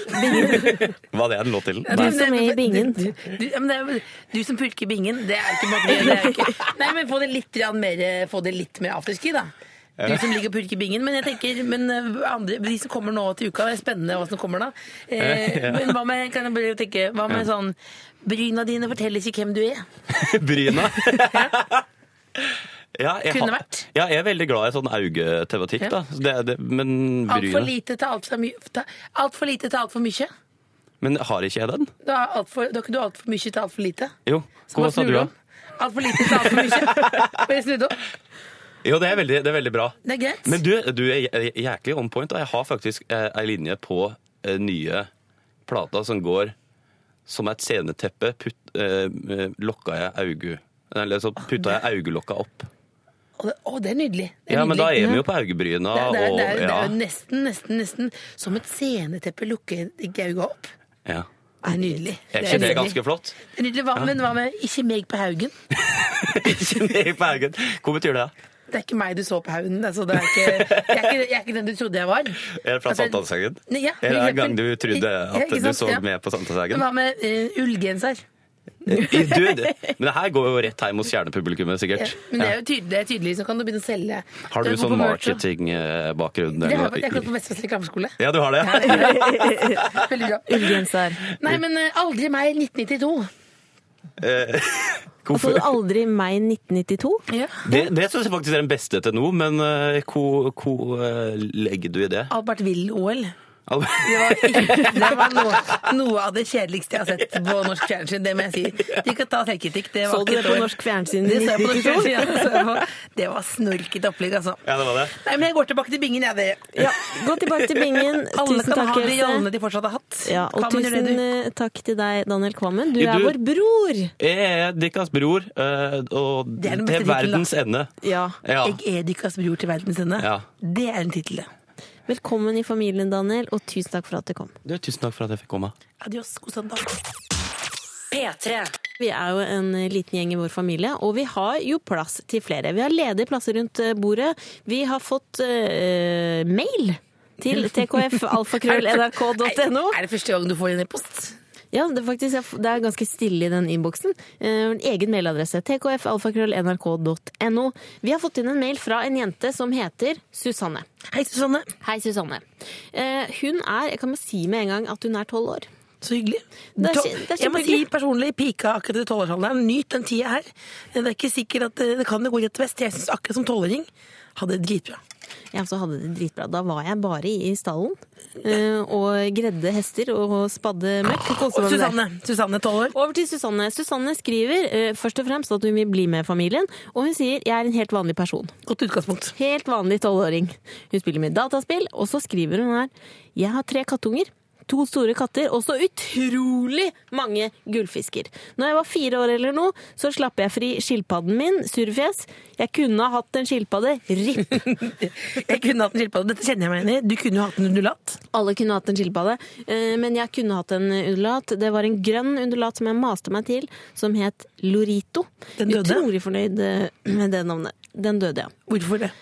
S7: var det en låt til?
S3: Du
S7: Nei.
S3: som er i bingen.
S4: Du, du, ja, men det er, du som pulker i bingen, det er ikke måte det er ikke. Nei, men få det litt grann mer, få det litt mer afterski, da. Du som ligger og pulker i bingen. Men jeg tenker, men eh, andre, de som kommer nå til uka, det er spennende hva som kommer da. Eh, men hva med, kan jeg bare tenke, hva med sånn Bryna dine forteller ikke hvem du er.
S7: Bryna. Ja, jeg
S4: Kunne
S7: har-
S4: vært.
S7: Ja, jeg er veldig glad i sånn augetematikk,
S4: Ja.
S7: da. Så Det, er det, men
S4: Altfor
S7: bryna
S4: lite til altfor mye. Alt for lite til altfor mye.
S7: Men har ikke jeg den?
S4: Da er alt for- da kan du ha altfor mye til altfor lite.
S7: Jo.
S4: Så
S7: Hva
S4: man
S7: sa
S4: snur det
S7: du, da?
S4: om. Altfor lite til altfor mye. Bare snu det om.
S7: Jo, det er veldig, det er veldig bra.
S4: Det er greit.
S7: Men du, du er jæ- jæklig on point. Da. Jeg har faktisk eh, ei linje på eh, nye plata som går som et sceneteppe. Putt, eh, eh, lokka jeg augu... Eller så putta jeg augelokka opp.
S4: Å, det, å, det er nydelig. Det er
S7: Ja, men da
S4: nydelig.
S7: er vi jo på augebryna
S4: Det er, det, er,
S7: og
S4: det, er, det
S7: ja,
S4: er jo nesten, nesten, nesten som et sceneteppe lukker Gauga opp.
S7: ja.
S4: Det er nydelig.
S7: Er ikke det
S4: nydelig.
S7: ganske flott?
S4: Det er nydelig. Hva, Men hva med 'ikke meg på haugen'?
S7: Ikke ned på augen. Hva betyr det?
S4: Det er ikke meg du så på haugen. Altså, det er ikke, jeg, er ikke, jeg er ikke den du trodde jeg var.
S7: Er det fra
S4: Altså,
S7: Sankthanshaugen?
S4: Nei, ja,
S7: er det
S4: for
S7: en gang du
S4: eksempel-
S7: trodde
S4: Ja,
S7: at
S4: ikke
S7: du
S4: sant?
S7: så
S4: Ja.
S7: med på
S4: Men
S7: Sankthanshaugen?
S4: Hva med eh, ullgenser?
S7: Du, det- men det her går jo rett hjem hos kjernepublikummet,
S4: Ja.
S7: sikkert.
S4: Men det er jo tydelig, det er tydelig, så kan du begynne å selge.
S7: Har du
S4: Det går
S7: sånn
S4: på merch, da.
S7: marketingbakgrunn?
S4: Det har jeg,
S7: eller-
S4: jeg har gått på Vestfoss reklameskole.
S7: Ja, du har det? ja.
S4: Veldig bra.
S3: Ullgenser.
S4: Nei, men eh, aldri meg 1992.
S3: Altså du aldri meg 1992?
S4: Ja.
S7: Det, det syns jeg faktisk er den beste til nå, men eh, hvor hvor, eh, legger du i det?
S4: Albert Will-OL.
S7: Al-
S4: Det var, ikke, det var noe, noe av det kjedeligste jeg har sett på norsk fjernsyn. Det må jeg si. De kan ta selvkritikk. Det var
S3: Så du
S4: ikke
S3: det
S4: et
S3: på
S4: år.
S3: norsk fjernsyn
S4: Det
S3: i
S4: så jeg på norsk
S3: 1992?
S4: fjernsyn. ja. Det så jeg på. Det var snorkete opplegg, altså.
S7: Ja, det var det.
S4: Nei, men jeg går tilbake til bingen, jeg, det.
S3: Ja, gå tilbake til bingen.
S4: Alle
S3: tusen
S4: kan
S3: takk,
S4: ha de
S3: Else.
S4: jallene de fortsatt har hatt.
S3: Ja, og
S4: Kan man gjøre
S3: tusen
S4: det, du?
S3: eh, takk til deg, Daniel Kvammen. Du
S7: Du-
S3: er vår bror!
S7: Jeg er Dikkas bror, eh, og
S4: Det er den beste
S7: til verdens ende.
S3: Ja.
S7: Ja.
S4: Jeg er deres bror til verdens ende.
S7: Ja.
S4: Det er en tittel, det.
S3: Velkommen i familien, Daniel, og tusen takk for at du kom.
S7: Du, tusen takk for at jeg fikk komme.
S4: Adios, god søndag.
S1: P3.
S3: Vi er jo en eh, liten gjeng i vår familie, og vi har jo plass til flere. Vi har ledige plasser rundt eh, bordet. Vi har fått eh, mail til tkfalfakrøll.nrk.no.
S4: Er det første gang du får en e-post?
S3: Ja, det, er faktisk, jeg f- det er ganske stille i den innboksen. Eh, En egen mailadresse. tkfalfakrøll.nrk.no. Vi har fått inn en mail fra en jente som heter Susanne.
S4: Hei, Susanne.
S3: Hei, Susanne. Eh, Hun er, jeg kan bare si med en gang, at hun er tolv år.
S4: Så hyggelig.
S3: Det er
S4: To-
S3: kje- det er
S4: jeg må si
S3: kjempehyggelig.
S4: personlig, pika akkurat i tolvårsalderen, nyt den tida her. Det er ikke sikkert at eh, det, det kan det gå rett vest. Jeg syns akkurat som tolvåring hadde det dritbra.
S3: Jeg også hadde det dritbra. Da var jeg bare i stallen eh, og gredde hester og spadde møkk. og koste
S4: Og
S3: meg med det.
S4: Susanne, Susanne tolv år.
S3: Over til Susanne. Susanne skriver eh, først og fremst at hun vil bli med familien, og hun sier 'jeg er en helt vanlig person'.
S4: Godt utgangspunkt.
S3: Helt vanlig tolvåring. Hun spiller mye dataspill, og så skriver hun her 'Jeg har tre kattunger'. To store katter og så utrolig mange gullfisker. Når jeg var fire år eller noe, så slapp jeg fri skilpadden min, surrfjes. Jeg kunne ha hatt en skilpadde. Ripp!
S4: Jeg kunne hatt en skilpadde. Dette kjenner jeg meg igjen i. Du kunne jo hatt en undulat.
S3: Alle kunne hatt en skilpadde, eh, men jeg kunne hatt en undulat. Det var en grønn undulat som jeg maste meg til, som het Lorito.
S4: Den døde?
S3: Utrolig fornøyd eh, med det navnet. Den døde, ja.
S4: Hvorfor det?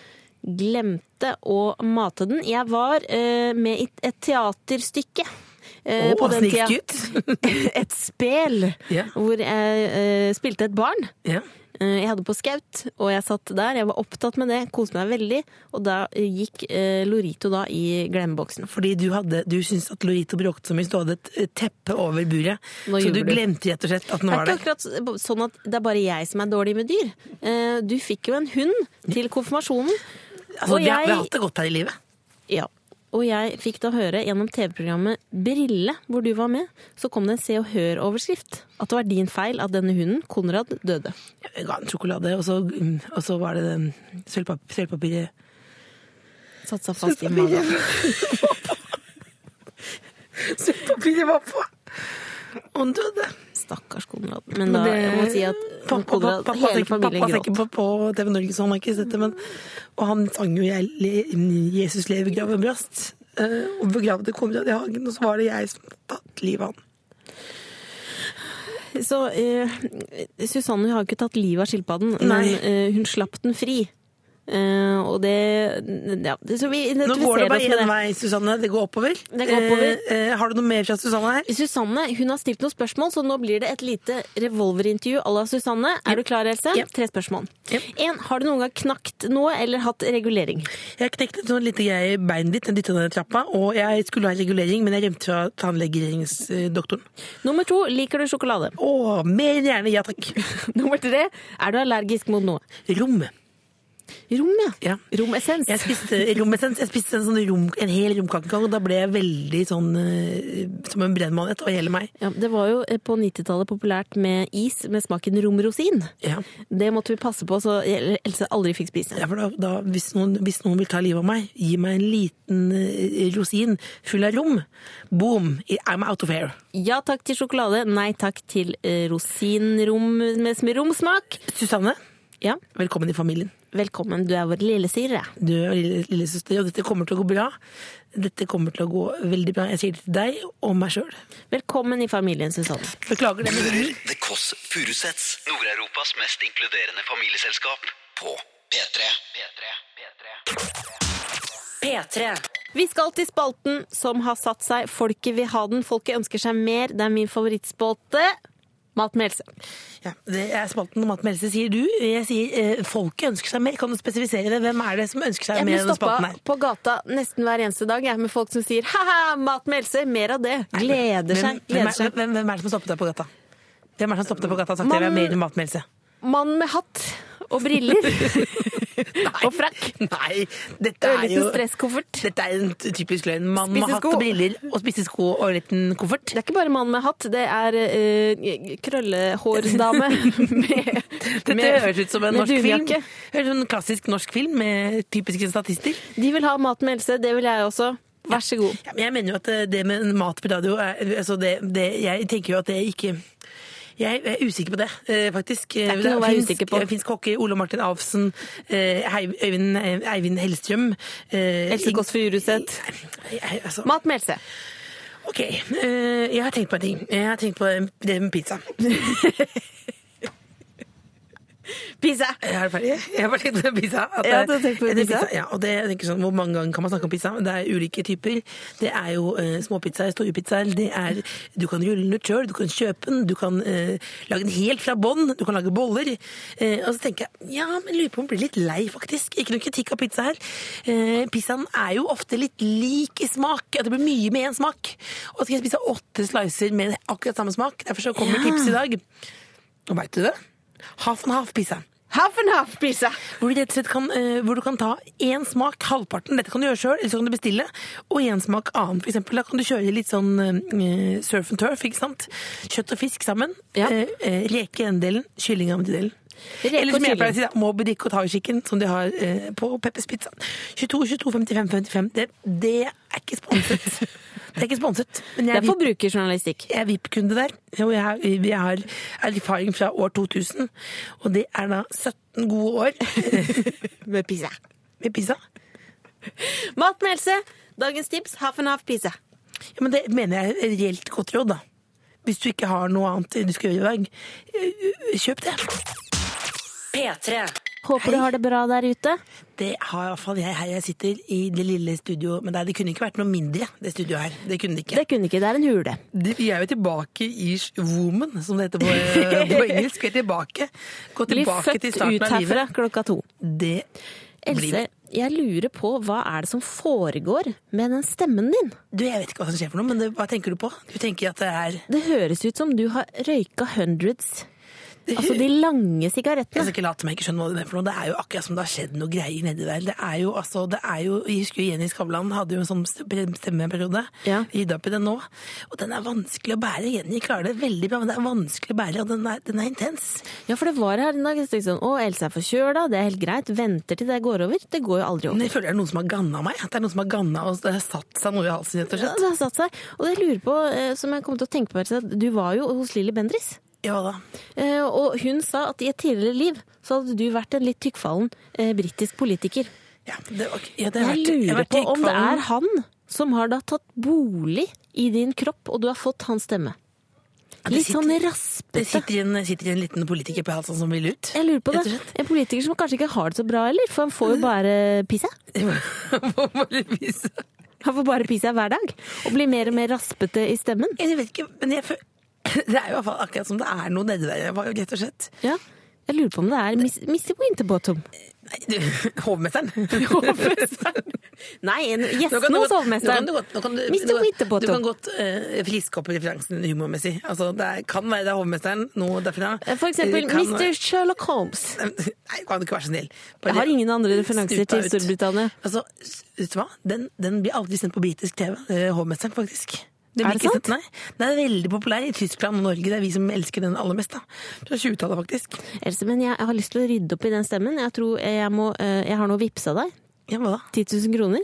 S3: Glemte å mate den. Jeg var eh, med i et teaterstykke. eh,
S4: Å,
S3: på den tida.
S4: snikskryt.
S3: Et spel
S4: Ja.
S3: hvor jeg eh, spilte et barn.
S4: Ja.
S3: Eh, Jeg hadde på skaut, og jeg satt der. Jeg var opptatt med det, koste meg veldig. Og da eh, gikk eh, Lorito da i glemmeboksen.
S4: Fordi du, hadde, du syntes at Lorito bråkte så mye, så du hadde et eh, teppe over buret.
S3: Nå
S4: så du
S3: ljuger du.
S4: glemte rett og slett at den
S3: Det er
S4: var
S3: ikke
S4: der.
S3: akkurat sånn at det er bare jeg som er dårlig med dyr. Eh, Du fikk jo en hund til konfirmasjonen.
S4: Altså,
S3: og
S4: vi, har, vi har
S3: jeg-
S4: hatt det godt her i livet.
S3: Ja. Og jeg fikk da høre gjennom TV-programmet Brille, hvor du var med, så kom det en Se og Hør-overskrift. At det var din feil at denne hunden, Konrad, døde.
S4: Jeg ga en sjokolade, og så, mm, og så var det den sølvpap- sølvpapiret.
S3: Satt seg fast i magen.
S4: Sølvpapiret var på! Og han døde.
S3: Stakkars Konrad. Men da jeg må si at
S4: Pappa, pappa,
S3: Konrad,
S4: pappa,
S3: hele
S4: tenker- pappa
S3: familien
S4: tenker
S3: gråt.
S4: på, på TV Norge, så han har ikke sett det. Men, og han sang jo jeg, le- 'Jesus lever, grav en brast'. eh, Og begravde Konrad i hagen, og så var det jeg som tatt livet av han.
S3: Så eh, Susanne har jo ikke tatt livet av skilpadden, men
S4: Nei.
S3: eh, hun slapp den fri. Eh, og det ja, det- Så vi
S4: Nå går det
S3: identifiserer oss
S4: bare
S3: med
S4: én
S3: det.
S4: vei, Susanne. Det går oppover.
S3: Det går oppover.
S4: Eh, eh, har du noe mer fra Susanne her?
S3: Susanne hun har stilt noen spørsmål, så nå blir det et lite revolverintervju à la Susanne. Er du klar, Else?
S4: Ja.
S3: Tre spørsmål.
S4: Ja.
S3: En, har du noen gang knakt noe eller hatt regulering?
S4: Jeg knekte en sånn lite greie i beinet ditt, jeg dytta ned i trappa, og jeg skulle ha regulering, men jeg rømte fra tannlegeringsdoktoren.
S3: Nummer to, liker du sjokolade?
S4: Å, mer enn gjerne. Ja takk.
S3: Nummer tre, er du allergisk mot noe?
S4: Rom.
S3: Rom,
S4: Ja.
S3: Romessens.
S4: Jeg spiste romessens. Jeg spiste en, sånn rom, en hel romkakekake, og da ble jeg veldig sånn eh, som en brennmanet over hele meg.
S3: Ja, det var jo eh, på 90-tallet populært med is med smaken romrosin.
S4: Ja.
S3: Det måtte vi passe på så Else aldri fikk spise.
S4: Ja, for da, da, hvis, noen, hvis noen vil ta livet av meg, gi meg en liten eh, rosin full av rom. Boom! I'm out of here.
S3: Ja takk til sjokolade, nei takk til eh, rosinrom med sm- romsmak.
S4: Susanne,
S3: Ja,
S4: velkommen i familien.
S3: velkommen, du er vår lillesyrre.
S4: Du er lille- lillesøster, og dette kommer til å gå bra. Dette kommer til å gå veldig bra. Jeg sier det til deg og meg sjøl.
S3: Velkommen i familien, Susanne.
S4: Beklager det.
S2: Du
S4: men-
S2: hører The Kåss Furuseths. Nord-Europas mest inkluderende familieselskap. På P3. P3.
S1: P3.
S3: Vi skal til spalten som har satt seg. Folket vil ha den, folket ønsker seg mer. Det er min favorittspalte. Mat med Else.
S4: Ja, det er spalten om at Melse sier du. Jeg sier eh, folket ønsker seg mer. Kan du spesifisere det? Hvem er det som ønsker seg
S3: Jeg
S4: mer
S3: blir
S4: i denne
S3: stoppa
S4: spalten her?
S3: på gata nesten hver eneste dag jeg, med folk som sier ha-ha, mat med Else, mer av det. Gleder seg.
S4: Hvem, hvem,
S3: Gleder
S4: er,
S3: seg.
S4: hvem, hvem er det som har stoppet deg på gata? Hvem er det som stoppet deg på gata og sagt at
S3: Mannen-
S4: jeg vil ha mer matmelse?
S3: mann med hatt og briller og frakk.
S4: Nei, dette er
S3: Ørliten
S4: jo
S3: stresskoffert.
S4: Dette er en typisk løgn. Mann med hatt
S3: Spissesko.
S4: og briller og spissesko og en liten koffert.
S3: Det er ikke bare mann med hatt, det er eh, krøllehårsdame med,
S4: Dette
S3: med-
S4: høres ut som en
S3: med
S4: norsk film.
S3: dunjakke.
S4: Høres ut som en klassisk norsk film med typiske statister.
S3: De vil ha mat med helse, det vil jeg også. Vær så god.
S4: Ja, men jeg mener jo at eh, det med mat på radio er, altså det, det, Jeg tenker jo at det ikke jeg er usikker på det, eh, faktisk. Det
S3: er ikke noe å være
S4: finsk-
S3: usikker på.
S4: Finsk hockey, Ole Martin Avsen, eh, Hei- Øyvind, Eivind Hellstrøm eh,
S3: Else Kåss Furuseth.
S4: Jeg- jeg- altså,
S3: Mat med helse.
S4: Ok, eh, jeg har tenkt på en ting. Jeg har tenkt på eh, det med pizza.
S3: Pizza.
S4: Jeg er ferdig. Jeg har bare tenkt på pizza. At
S3: Ja,
S4: det-
S3: du har tenkt på
S4: det er
S3: pizza?
S4: Ja, og det, jeg tenker sånn, Hvor mange ganger kan man snakke om pizza? Det er ulike typer. Det er jo eh, småpizzaer, store pizzaer. Det er, du kan rulle den ut sjøl, du kan kjøpe den, du kan eh, lage den helt fra bånn, du kan lage boller. Eh, og så tenker jeg ja, men lurer på om jeg blir litt lei, faktisk. Ikke noe kritikk av pizza her. Eh, pizzaen er jo ofte litt lik i smak. At det blir mye med én smak. Og så skal jeg spise åtte slicer med akkurat samme smak. Derfor så kommer tips i dag. Og veit du det? Half and half-pizza.
S3: Half and half pizza.
S4: Hvor du rett og slett kan, eh, hvor du kan ta én smak, halvparten, dette kan du gjøre sjøl, eller så kan du bestille, og én smak annen. For eksempel, da kan du kjøre litt sånn eh, surf and turf, ikke sant? Kjøtt og fisk sammen.
S3: Ja.
S4: Eh, eh, reke i ene delen, kylling i andre delen.
S3: Reke
S4: Eller
S3: og
S4: som jeg
S3: kylling.
S4: pleier å si, da, Moby Dick og Thai-chicken, som de har eh, på Peppers Pizza. 22, 22, 55, 55. Det, det er ikke sponset. Det er ikke sponset. Men
S3: Det
S4: jeg
S3: er forbrukerjournalistikk.
S4: jeg er VIP-kunde der, og jeg har, jeg har erfaring fra år 2000. Og det er da 17 gode år
S3: Med pizza.
S4: med pizza.
S3: Mat med helse. Dagens tips half and half pizza.
S4: Ja, men det mener jeg er et reelt godt råd, da. Hvis du ikke har noe annet du skal gjøre i dag, eh, kjøp det.
S1: P3.
S3: Håper du har det bra der ute.
S4: Det har iallfall jeg her jeg sitter i det lille studioet med deg. Det kunne ikke vært noe mindre, det studioet her. Det kunne det ikke.
S3: Det kunne ikke, det er en hule.
S4: Det- Vi er jo tilbake i sh- woman, som det heter på, eh, på engelsk. Vi er tilbake. Gå
S3: Bli
S4: tilbake
S3: født
S4: til
S3: ut
S4: starten av
S3: herfra
S4: livet.
S3: klokka to.
S4: Det
S3: Else,
S4: blir-
S3: jeg lurer på hva er det som foregår med den stemmen din?
S4: Du, jeg vet ikke hva som skjer for noe, men det, hva tenker du på? Du tenker at det er
S3: Det høres ut som du har røyka hundreds. Altså de lange
S4: Jeg
S3: sigarettene.
S4: skal Altså, ikke late meg ikke skjønne hva det er for noe. Det er jo akkurat som det har skjedd noe greier nedi der. Det er jo, altså, det er jo, jeg husker jo Jenny Skavlan hadde jo en sånn stemmeperiode.
S3: Ja.
S4: Rydda opp i den nå. Og den er vanskelig å bære. Jenny klarer det veldig bra, men det er vanskelig å bære, og den er, den er intens.
S3: Ja, for det var her en dag. Jeg tenkte sånn, Å, Else er forkjøla, det er helt greit. Venter til det går over. Det går jo aldri over.
S4: Men jeg føler det er noen som har ganna meg. At det er noen som har ganna og det har satt seg noe i halsen, rett og
S3: Ja,
S4: slett.
S3: Det har satt seg. Og jeg lurer på, eh, som jeg kom til å tenke på, Else, at du var jo hos Lilly Bendriss.
S4: Ja da.
S3: Eh, Og hun sa at i et tidligere liv så hadde du vært en litt tykkfallen eh, britisk politiker.
S4: Ja, det, var- ja, det har
S3: Jeg
S4: vært- jeg har
S3: lurer
S4: vært
S3: på om det
S4: dykkfallen.
S3: er han som har da tatt bolig i din kropp, og du har fått hans stemme.
S4: det
S3: Litt sånn
S4: sitter- Det
S3: raspete.
S4: sitter en, sitter en liten politiker på halsen som vil ut.
S3: Jeg lurer på det.
S4: rett og slett.
S3: En politiker som kanskje ikke har det så bra heller, for han får jo bare pisse.
S4: Må bare vise.
S3: Han får bare pisse hver dag, og blir mer og mer raspete i stemmen.
S4: Jeg vet ikke, men jeg føler det er jo i hvert fall akkurat som det er noe nedi der, hva- rett og slett.
S3: Ja. Jeg lurer på om det er Miss, Mr. Winterbottom.
S4: Nei, du, hovmesteren.
S3: Nei, en-
S4: Nå kan
S3: gjesten
S4: du
S3: hos
S4: godt- nå kan
S3: hovmesteren.
S4: du godt- nå kan du-
S3: Mr.
S4: nå kan- Du kan
S3: Winterbottom.
S4: godt eh, friske opp referansen humormessig. Altså, det er, kan være det er hovmesteren, noe derfra.
S3: For eksempel
S4: Eh, kan-
S3: Mr. Sherlock Holmes.
S4: Nei, kan du ikke være så snill? Bare
S3: Jeg har ingen andre referanser
S4: snuta
S3: til
S4: ut.
S3: Storbritannia.
S4: Altså, s- vet du hva? Den, den blir aldri sendt på britisk TV, eh, Hovmesteren, faktisk. Den
S3: Er
S4: blir
S3: det
S4: ikke sendt- Nei, den er veldig populær i Tyskland og Norge. Det er vi som elsker den aller mest, da. Fra 20-tallet, faktisk.
S3: Else, men jeg har lyst til å rydde opp i den stemmen. Jeg tror jeg, må, eh, jeg har nå vippsa deg
S4: Ja, hva da?
S3: 10 000 kroner.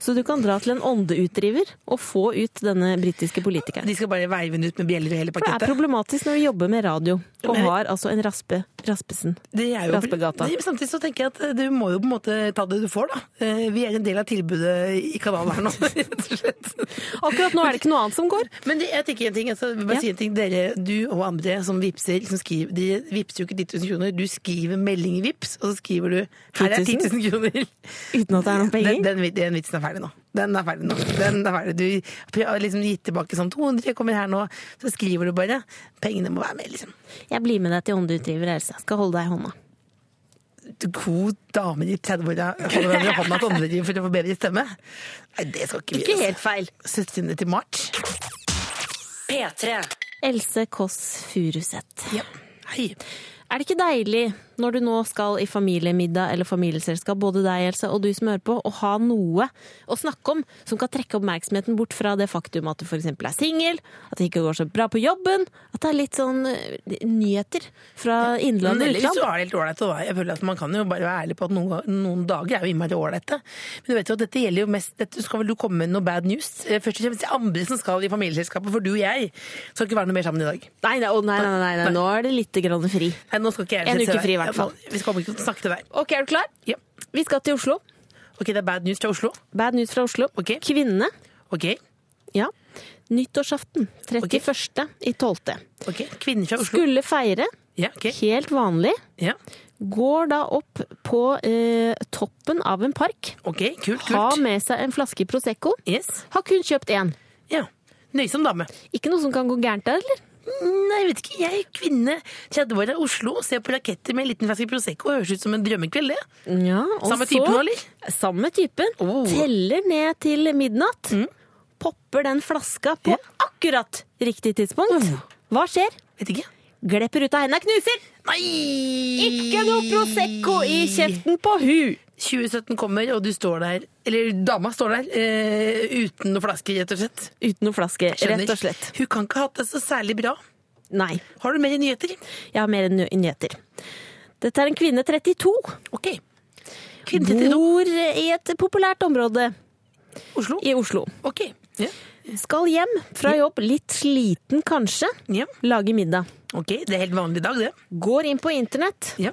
S3: Så du kan dra til en åndeutdriver og få ut denne britiske politikeren.
S4: De skal bare veive den ut med bjeller og hele
S3: For det er
S4: pakketet.
S3: problematisk når vi jobber med radio og har altså en raspe, raspesen.
S4: Det er jo-
S3: Raspegata.
S4: Nei, men Samtidig så tenker jeg at eh, du må jo på en måte ta det du får, da. Eh, Vi er en del av tilbudet i kanalen her nå, rett og slett.
S3: Akkurat nå er det ikke noe annet som går.
S4: Men det, jeg tenker en ting, altså, jeg vil bare
S3: Ja.
S4: si en ting. Dere, du og andre som vipser, som skriver, de vipser jo ikke 10 000 kroner. Du skriver melding i vips, og så skriver du 'her er 10 000 kroner'.
S3: Uten at det er noen
S4: Den,
S3: penger.
S4: den, vit- den vitsen er ferdig nå. Den er ferdig nå. Den er ferdig. Du har liksom gitt tilbake sånn 200, kommer her nå. Så skriver du bare. Pengene må være med, liksom.
S3: Jeg blir med deg til åndeutdriver, Else. Skal holde deg i hånda.
S4: god dame i 30-åra holder hverandre i hånda til åndedriv for å få bedre stemme. Nei, det skal ikke vi altså.
S3: Ikke helt feil.
S4: Søstrene til March.
S1: P3.
S3: Else Kåss Furuseth.
S4: Ja. Hei.
S3: Er det ikke deilig når du nå skal i familiemiddag eller familieselskap, både deg Else og du som hører på, å ha noe å snakke om som kan trekke oppmerksomheten bort fra det faktum at du f.eks. er singel, at det ikke går så bra på jobben, at det er litt sånn eh, nyheter fra innland og
S4: Eller hvis du
S3: utland?
S4: har det helt ålreit. og Jeg føler at Man kan jo bare være ærlig på at noen, noen dager er jo innmari ålreite. Men du vet jo at dette gjelder jo mest dette skal vel du komme med noe bad news? Eh, Først og fremst det er andre som skal i familieselskapet, for du og jeg skal ikke være noe mer sammen i dag.
S3: Nei, nei, å, nei, nei, nei, sånn- nei, nå er det lite grann fri.
S4: Nei, nå skal ikke jeg
S3: En
S4: sette
S3: uke
S4: deg.
S3: fri i hvert fall.
S4: Vi skal ikke snakke til deg.
S3: Ok, er du klar?
S4: Ja.
S3: Vi skal til Oslo.
S4: Ok, det er bad news fra Oslo.
S3: Bad news fra Oslo.
S4: Ok.
S3: Kvinnene.
S4: Ok,
S3: Ja. Nyttårsaften 31.12.
S4: ok. Kvinner fra Oslo.
S3: Skulle feire,
S4: Ja, ok.
S3: helt vanlig.
S4: Ja.
S3: Går da opp på eh, toppen av en park.
S4: Ok, kult,
S3: Har
S4: kult.
S3: med seg en flaske Prosecco.
S4: Yes.
S3: Har kun kjøpt én.
S4: Ja. Nøysom dame.
S3: Ikke noe som kan gå gærent der, eller?
S4: Nei, jeg vet ikke. Jeg er kvinne 30 år av Oslo, ser på raketter med en liten flaske Prosecco høres ut som en drømmekveld, det.
S3: Ja, og
S4: Samme type nå, eller?
S3: Samme typen.
S4: Oh. Mm.
S3: Teller ned til midnatt. Popper den flaska på
S4: Ja. Oh.
S3: akkurat riktig tidspunkt. Hva skjer?
S4: Vet ikke.
S3: Glepper ut av hendene, knuser!
S4: Nei!
S3: Ikke noe Prosecco i kjeften på hu!
S4: 2017 kommer, og du står der, eller dama står der, eh, uten noe flaske, rett og slett.
S3: Uten noe flaske,
S4: Skjønner.
S3: rett og slett.
S4: Hun kan ikke ha hatt det så særlig bra.
S3: Nei.
S4: Har du mer nyheter?
S3: Jeg har mer ny- nyheter. Dette er en kvinne 32.
S4: Ok. Kvinne 32,
S3: Bor i et populært område
S4: Oslo.
S3: i Oslo.
S4: Ok. Ja.
S3: Skal hjem fra jobb, litt sliten kanskje.
S4: Ja.
S3: Lage middag.
S4: Ok, det er helt vanlig dag, det.
S3: Går inn på internett,
S4: Ja.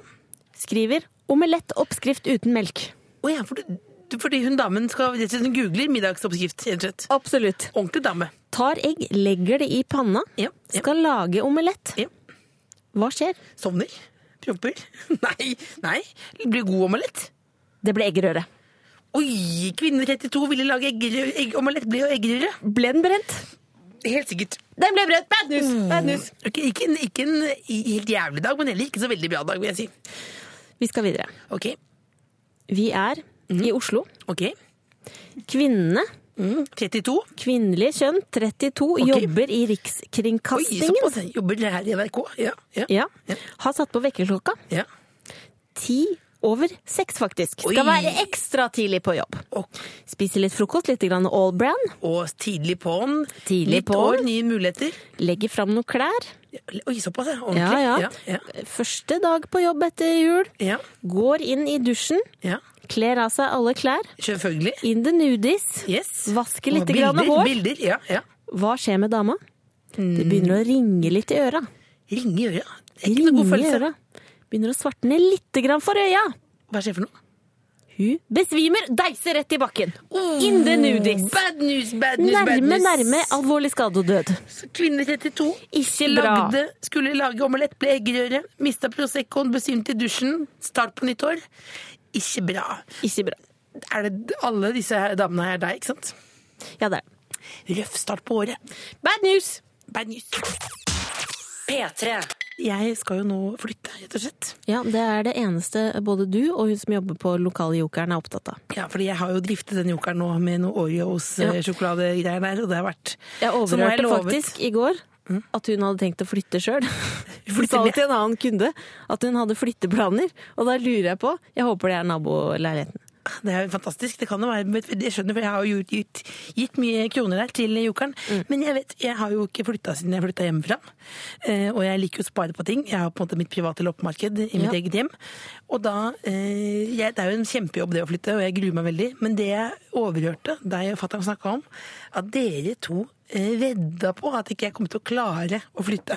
S3: skriver 'omelett oppskrift uten melk'.
S4: Å ja, for du, du- fordi hun damen skal rett og slett hun googler middagsoppskrift, rett og slett.
S3: Absolutt.
S4: Ordentlig dame.
S3: Tar egg, legger det i panna,
S4: Ja, ja.
S3: skal lage omelett.
S4: Ja.
S3: Hva skjer?
S4: Sovner. Promper. Nei, nei. Det blir god omelett.
S3: Det ble eggerøre.
S4: Oi, kvinne 32 ville lage eggerøre- egg, omelett, blir jo eggerøre.
S3: Ble den brent?
S4: Helt sikkert.
S3: Den ble brent! Bad news! Bad news.
S4: Mm. Ok, ikke, en, ikke en helt jævlig dag, men heller ikke så veldig bra dag, vil jeg si.
S3: Vi skal videre.
S4: Ok,
S3: Vi er
S4: Mhm.
S3: i Oslo.
S4: ok.
S3: Kvinnene,
S4: Mm, 32.
S3: kvinnelige kjønn, 32,
S4: Ok.
S3: jobber i
S4: Oi,
S3: Rikskringkastingen.
S4: såpass. Jobber her i NRK. Ja, ja,
S3: Ja. Har satt på vekkerklokka.
S4: ja.
S3: Ti over seks, faktisk.
S4: Oi.
S3: Skal være ekstra tidlig på jobb.
S4: Og,
S3: Spiser litt frokost, litt grann all brand.
S4: og tidlig på'n.
S3: Tidlig
S4: Nytt år,
S3: på'n.
S4: nye muligheter.
S3: Legger fram noen klær.
S4: Oi, såpass, ja. Ordentlig.
S3: Ja, ja.
S4: ja,
S3: Første dag på jobb etter jul.
S4: ja,
S3: Går inn i dusjen.
S4: ja.
S3: Kler av seg alle klær.
S4: Selvfølgelig.
S3: In the nudies.
S4: Yes.
S3: Vasker
S4: Og
S3: litt grann
S4: bilder,
S3: hår.
S4: Bilder, ja, ja.
S3: Hva skjer med dama? Det begynner å ringe litt i øra.
S4: Ringe i øra. Det Mm. er ikke noe god
S3: Ringe i
S4: følelse.
S3: øra. Begynner å svartne litt grann for øya.
S4: Hva skjer for noe?
S3: Hun besvimer, deiser rett i bakken. In the nudies.
S4: Oh. Bad news, bad news, bad
S3: Nærme,
S4: news.
S3: nærme alvorlig skade og død.
S4: Kvinne 32.
S3: Ikke bra.
S4: Lagde, skulle lage omelett, ble eggerøre. Mista Proseccoen, besvimte i dusjen. Start på nytt år. Ikke bra.
S3: Ikke bra.
S4: Er det alle disse her damene her deg, ikke sant?
S3: Ja, det er det.
S4: Røff start på året.
S3: Bad news!
S4: Bad news.
S1: P3.
S4: Jeg skal jo nå flytte, rett og slett.
S3: Ja, det er det eneste både du og hun som jobber på lokaljokeren er opptatt av.
S4: Ja, fordi jeg har jo driftet den jokeren nå med noe
S3: Ja.
S4: Oreos-sjokoladegreier der, og det har vært
S3: Jeg
S4: Så nå har
S3: overhørte
S4: jeg
S3: Mm.
S4: lovet-
S3: faktisk i går at hun hadde tenkt å flytte sjøl. Hun sa
S4: ned.
S3: det til en annen kunde at hun hadde flytteplaner, og da lurer jeg på Jeg håper det er naboleiligheten.
S4: Det er jo fantastisk. Det kan jo være, jeg skjønner, for jeg har jo gitt, gitt mye kroner der til jokeren. Men jeg vet, jeg har jo ikke flytta siden jeg flytta hjemmefra. Eh, og jeg liker jo å spare på ting. Jeg har på en måte mitt private loppemarked i
S3: Ja.
S4: mitt eget hjem. Og da eh, jeg, Det er jo en kjempejobb det å flytte, og jeg gruer meg veldig. Men det jeg overhørte deg og fatter'n snakka om, at dere to eh, vedda på at ikke jeg kom til å klare å flytte.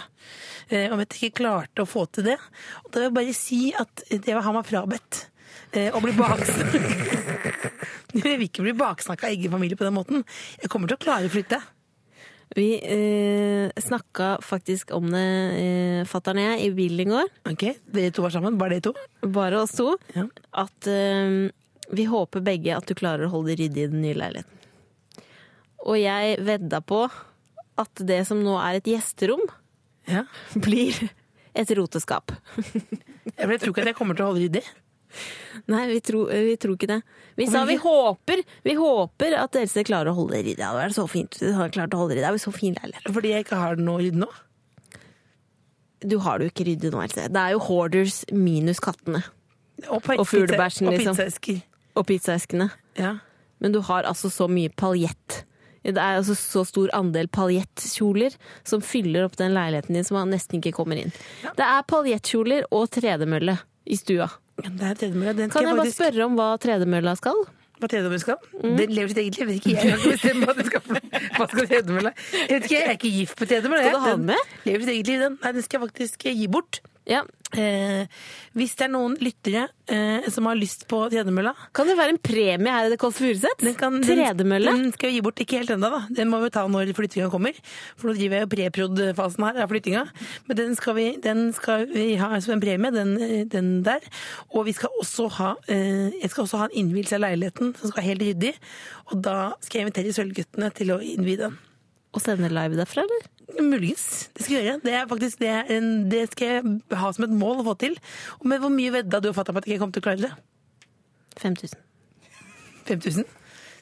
S4: Eh, Om jeg ikke klarte å få til det. Og da vil jeg bare si at det var han var frabedt. eh, Å bli baksnakka Jeg vil ikke bli baksnakka av egen familie på den måten. Jeg kommer til å klare å flytte.
S3: Vi eh, snakka faktisk om det, eh, fatter'n og jeg, i bilen i går.
S4: Ok, Dere to var sammen? Bare dere to?
S3: Bare oss to.
S4: Ja.
S3: At eh, vi håper begge at du klarer å holde det ryddig i den nye leiligheten. Og jeg vedda på at det som nå er et gjesterom,
S4: Ja.
S3: blir et roteskap.
S4: Jeg ble- jeg tror ikke at jeg kommer til å holde ryddig.
S3: Nei, vi tror, vi tror ikke det. Vi sa vi håper, vi håper at Else klarer å holde det i deg. Det hadde vært så fint. hvis Du hadde klart å holde det i deg. Det er jo så fin leilighet.
S4: Fordi jeg ikke har noe å rydde nå.
S3: Du har det jo ikke ryddig nå, Else. Det er jo hoarders minus kattene
S4: Og, pizza-
S3: Og fuglebæsjen,
S4: og
S3: liksom.
S4: pizzaesker.
S3: og pizzaeskene.
S4: Ja.
S3: Men du har altså så mye paljett. Det er altså så stor andel paljettkjoler som fyller opp den leiligheten din som man nesten ikke kommer inn. Det er paljettkjoler og tredemølle i stua.
S4: Ja, Det er tredemølla. Den
S3: Kan jeg
S4: skal jeg
S3: bare
S4: faktisk
S3: spørre Mm. om hva tredemølla skal?
S4: Hva tredemølla skal? Det lever sitt eget liv. Vet ikke jeg. jeg kan bestemme hva den skal Hva skal tredemølla? Jeg vet ikke, jeg er ikke gift på tredemølla.
S3: Skal du
S4: jeg.
S3: ha
S4: Den
S3: den med?
S4: Lever sitt eget liv, den. Nei, den skal jeg faktisk eh, gi bort.
S3: Ja.
S4: Eh, hvis det er noen lyttere eh, som har lyst på tredemølla
S3: Kan det være en premie her i The Kåss Furuseth?
S4: den kan-
S3: Tredemølle?
S4: Den, den skal vi gi bort, ikke helt ennå, da. Den må vi ta når flyttinga kommer. For nå driver jeg jo preprod-fasen her av flyttinga. Men den skal, vi, den skal vi ha som en premie, den, eh, den der. Og vi skal også ha eh, Jeg skal også ha en innvielse av leiligheten, som skal være helt ryddig. Og da skal jeg invitere Sølvguttene til å innvie den.
S3: Og sende live derfra, eller?
S4: Muligens. Det skal jeg gjøre. Det, er faktisk, det, er en, det skal jeg ha som et mål å få til. Og med hvor mye vedda du og fatter'n på at jeg ikke kommer til å klare det?
S3: 5000.
S4: 5000?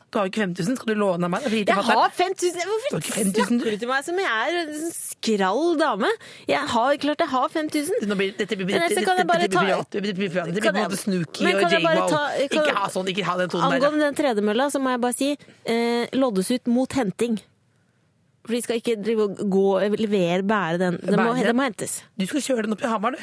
S4: Du har jo ikke 5000, skal du låne av meg? Jeg
S3: 5000!
S4: Du har
S3: Hvorfor
S4: ikke 5000, du.
S3: snakker du til meg som jeg er en skrall dame? Jeg har klart jeg har 5000.
S4: Nå blir, dette blir
S3: Men
S4: dette-
S3: så kan jeg
S4: dette
S3: bare
S4: blir
S3: ta-
S4: privat. Dette blir privat. Dette blir
S3: Kan
S4: på en
S3: jeg-
S4: måte Snooki
S3: Men
S4: og
S3: kan jeg bare
S4: J-Wow.
S3: ta- kan-
S4: Ikke ha sånn, ikke ha den tonen der.
S3: Angående den tredemølla så må jeg bare si eh, loddes ut mot henting. For de skal ikke drive og gå, levere, bære den. Den må,
S4: Bære den?
S3: den må hentes.
S4: Du skal kjøre den opp i Hamar, du.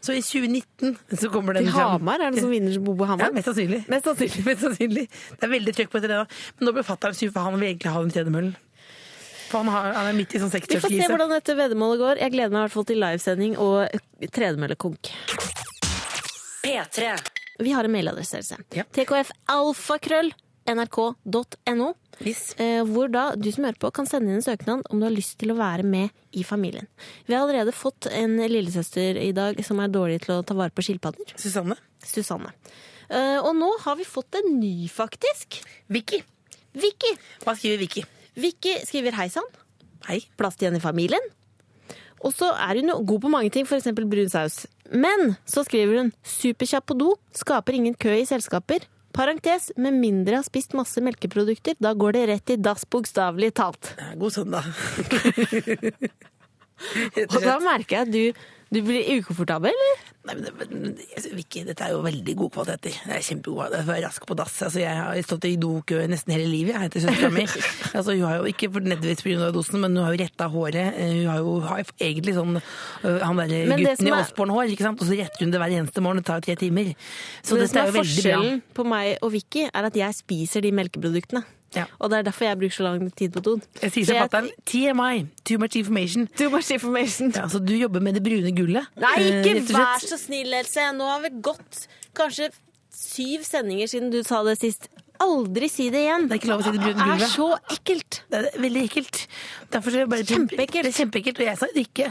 S4: Så i 2019 så kommer den
S3: Til
S4: fram.
S3: Hamar? Er det som vinner som bor på
S4: Ja,
S3: Hamar?
S4: mest sannsynlig.
S3: Mest sannsynlig.
S4: Mest sannsynlig. Det er veldig trøkk på etter det da. Men nå ble fatter'n sur, for han vil egentlig ha den tredemøllen. For han, har, han er midt i sånn
S3: Vi får se
S4: 60-årskrise.
S3: hvordan dette veddemålet går. Jeg gleder meg i hvert fall til livesending og tredemøllekonk.
S1: P3.
S3: Vi har en mailadresse. Else.
S4: Ja.
S3: tkfalfakrøll nrk.no, eh, hvor da du som hører på kan sende inn en søknad om du har lyst til å være med i familien. Vi har allerede fått en lillesøster i dag som er dårlig til å ta vare på skilpadder.
S4: Susanne.
S3: Susanne. Eh, Og nå har vi fått en ny, faktisk.
S4: Vicky.
S3: Vicky.
S4: Hva skriver Vicky?
S3: Vicky skriver 'Hei sann,
S4: Hei.
S3: plass til igjen i familien'. Og så er hun jo god på mange ting, f.eks. brun saus. Men så skriver hun 'superkjapp på do, skaper ingen kø i selskaper'. Parentes, med mindre har spist masse melkeprodukter, da går det rett i dass, bokstavelig talt.
S4: Ja, God søndag.
S3: Og da merker jeg at du, du blir ukomfortabel, eller?
S4: Nei, men, det- men, det- jeg synes ikke, dette er jo veldig gode kvaliteter. Jeg er kjempegod jeg er rask på dass. Altså, jeg har stått i dokø nesten hele livet jeg, etter søstera mi. Altså, hun har jo ikke for- nødvendigvis pga. dosen, men hun har jo retta håret. Eh, Hun har jo har egentlig sånn øh, han derre
S3: Men det
S4: gutten i
S3: som er-
S4: Osborne-hår, ikke sant. Og så retter hun det hver eneste morgen. Det tar jo tre timer. Så
S3: Det
S4: dette
S3: som
S4: er
S3: er
S4: jo veldig bra.
S3: forskjellen på meg og Vicky, er at jeg spiser de melkeproduktene.
S4: Ja.
S3: Og det er derfor jeg bruker så lang tid på doen.
S4: Jeg sier
S3: Så
S4: til fatter'n TMI, too much information.
S3: Too much information.
S4: Ja, så du jobber med det brune gullet?
S3: Nei,
S4: eh,
S3: ikke
S4: rett og slett.
S3: vær så snill, Else. Nå har vi gått kanskje syv sendinger siden du sa det sist. Aldri si det igjen.
S4: Det er ikke lov å si det brune
S3: Det
S4: gulvet.
S3: er så ekkelt.
S4: Det er veldig ekkelt. Derfor så vil jeg bare,
S3: Kjempeekkelt.
S4: Det er kjempeekkelt, og jeg sa det ikke.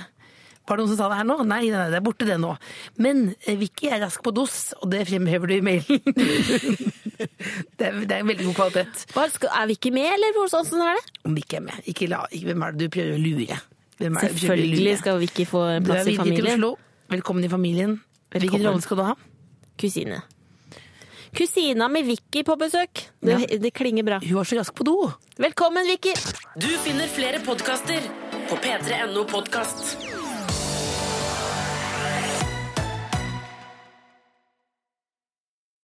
S4: Var det noen som sa det her nå? Nei, nei, nei det er borte det nå. Men eh, Vicky er rask på dos, og det fremhever du i mailen. det, er, det er veldig god kvalitet.
S3: Hva, skal, er vi ikke med, eller hvor sånn sånn er det?
S4: Om Vicky er med. Ikke la, ikke, hvem er det du prøver å lure? Hvem er det du prøver å
S3: Selvfølgelig
S4: lure?
S3: skal vi ikke få en
S4: Du er
S3: plass i
S4: villig til
S3: familien.
S4: Oslo. Velkommen i familien. Hvilken
S3: Velkommen.
S4: rolle skal du ha?
S3: Kusine. Kusina med Vicky på besøk. Det, det klinger bra.
S4: Hun var så rask på do.
S3: Velkommen, Vicky!
S1: Du finner flere podkaster på p3.no podkast.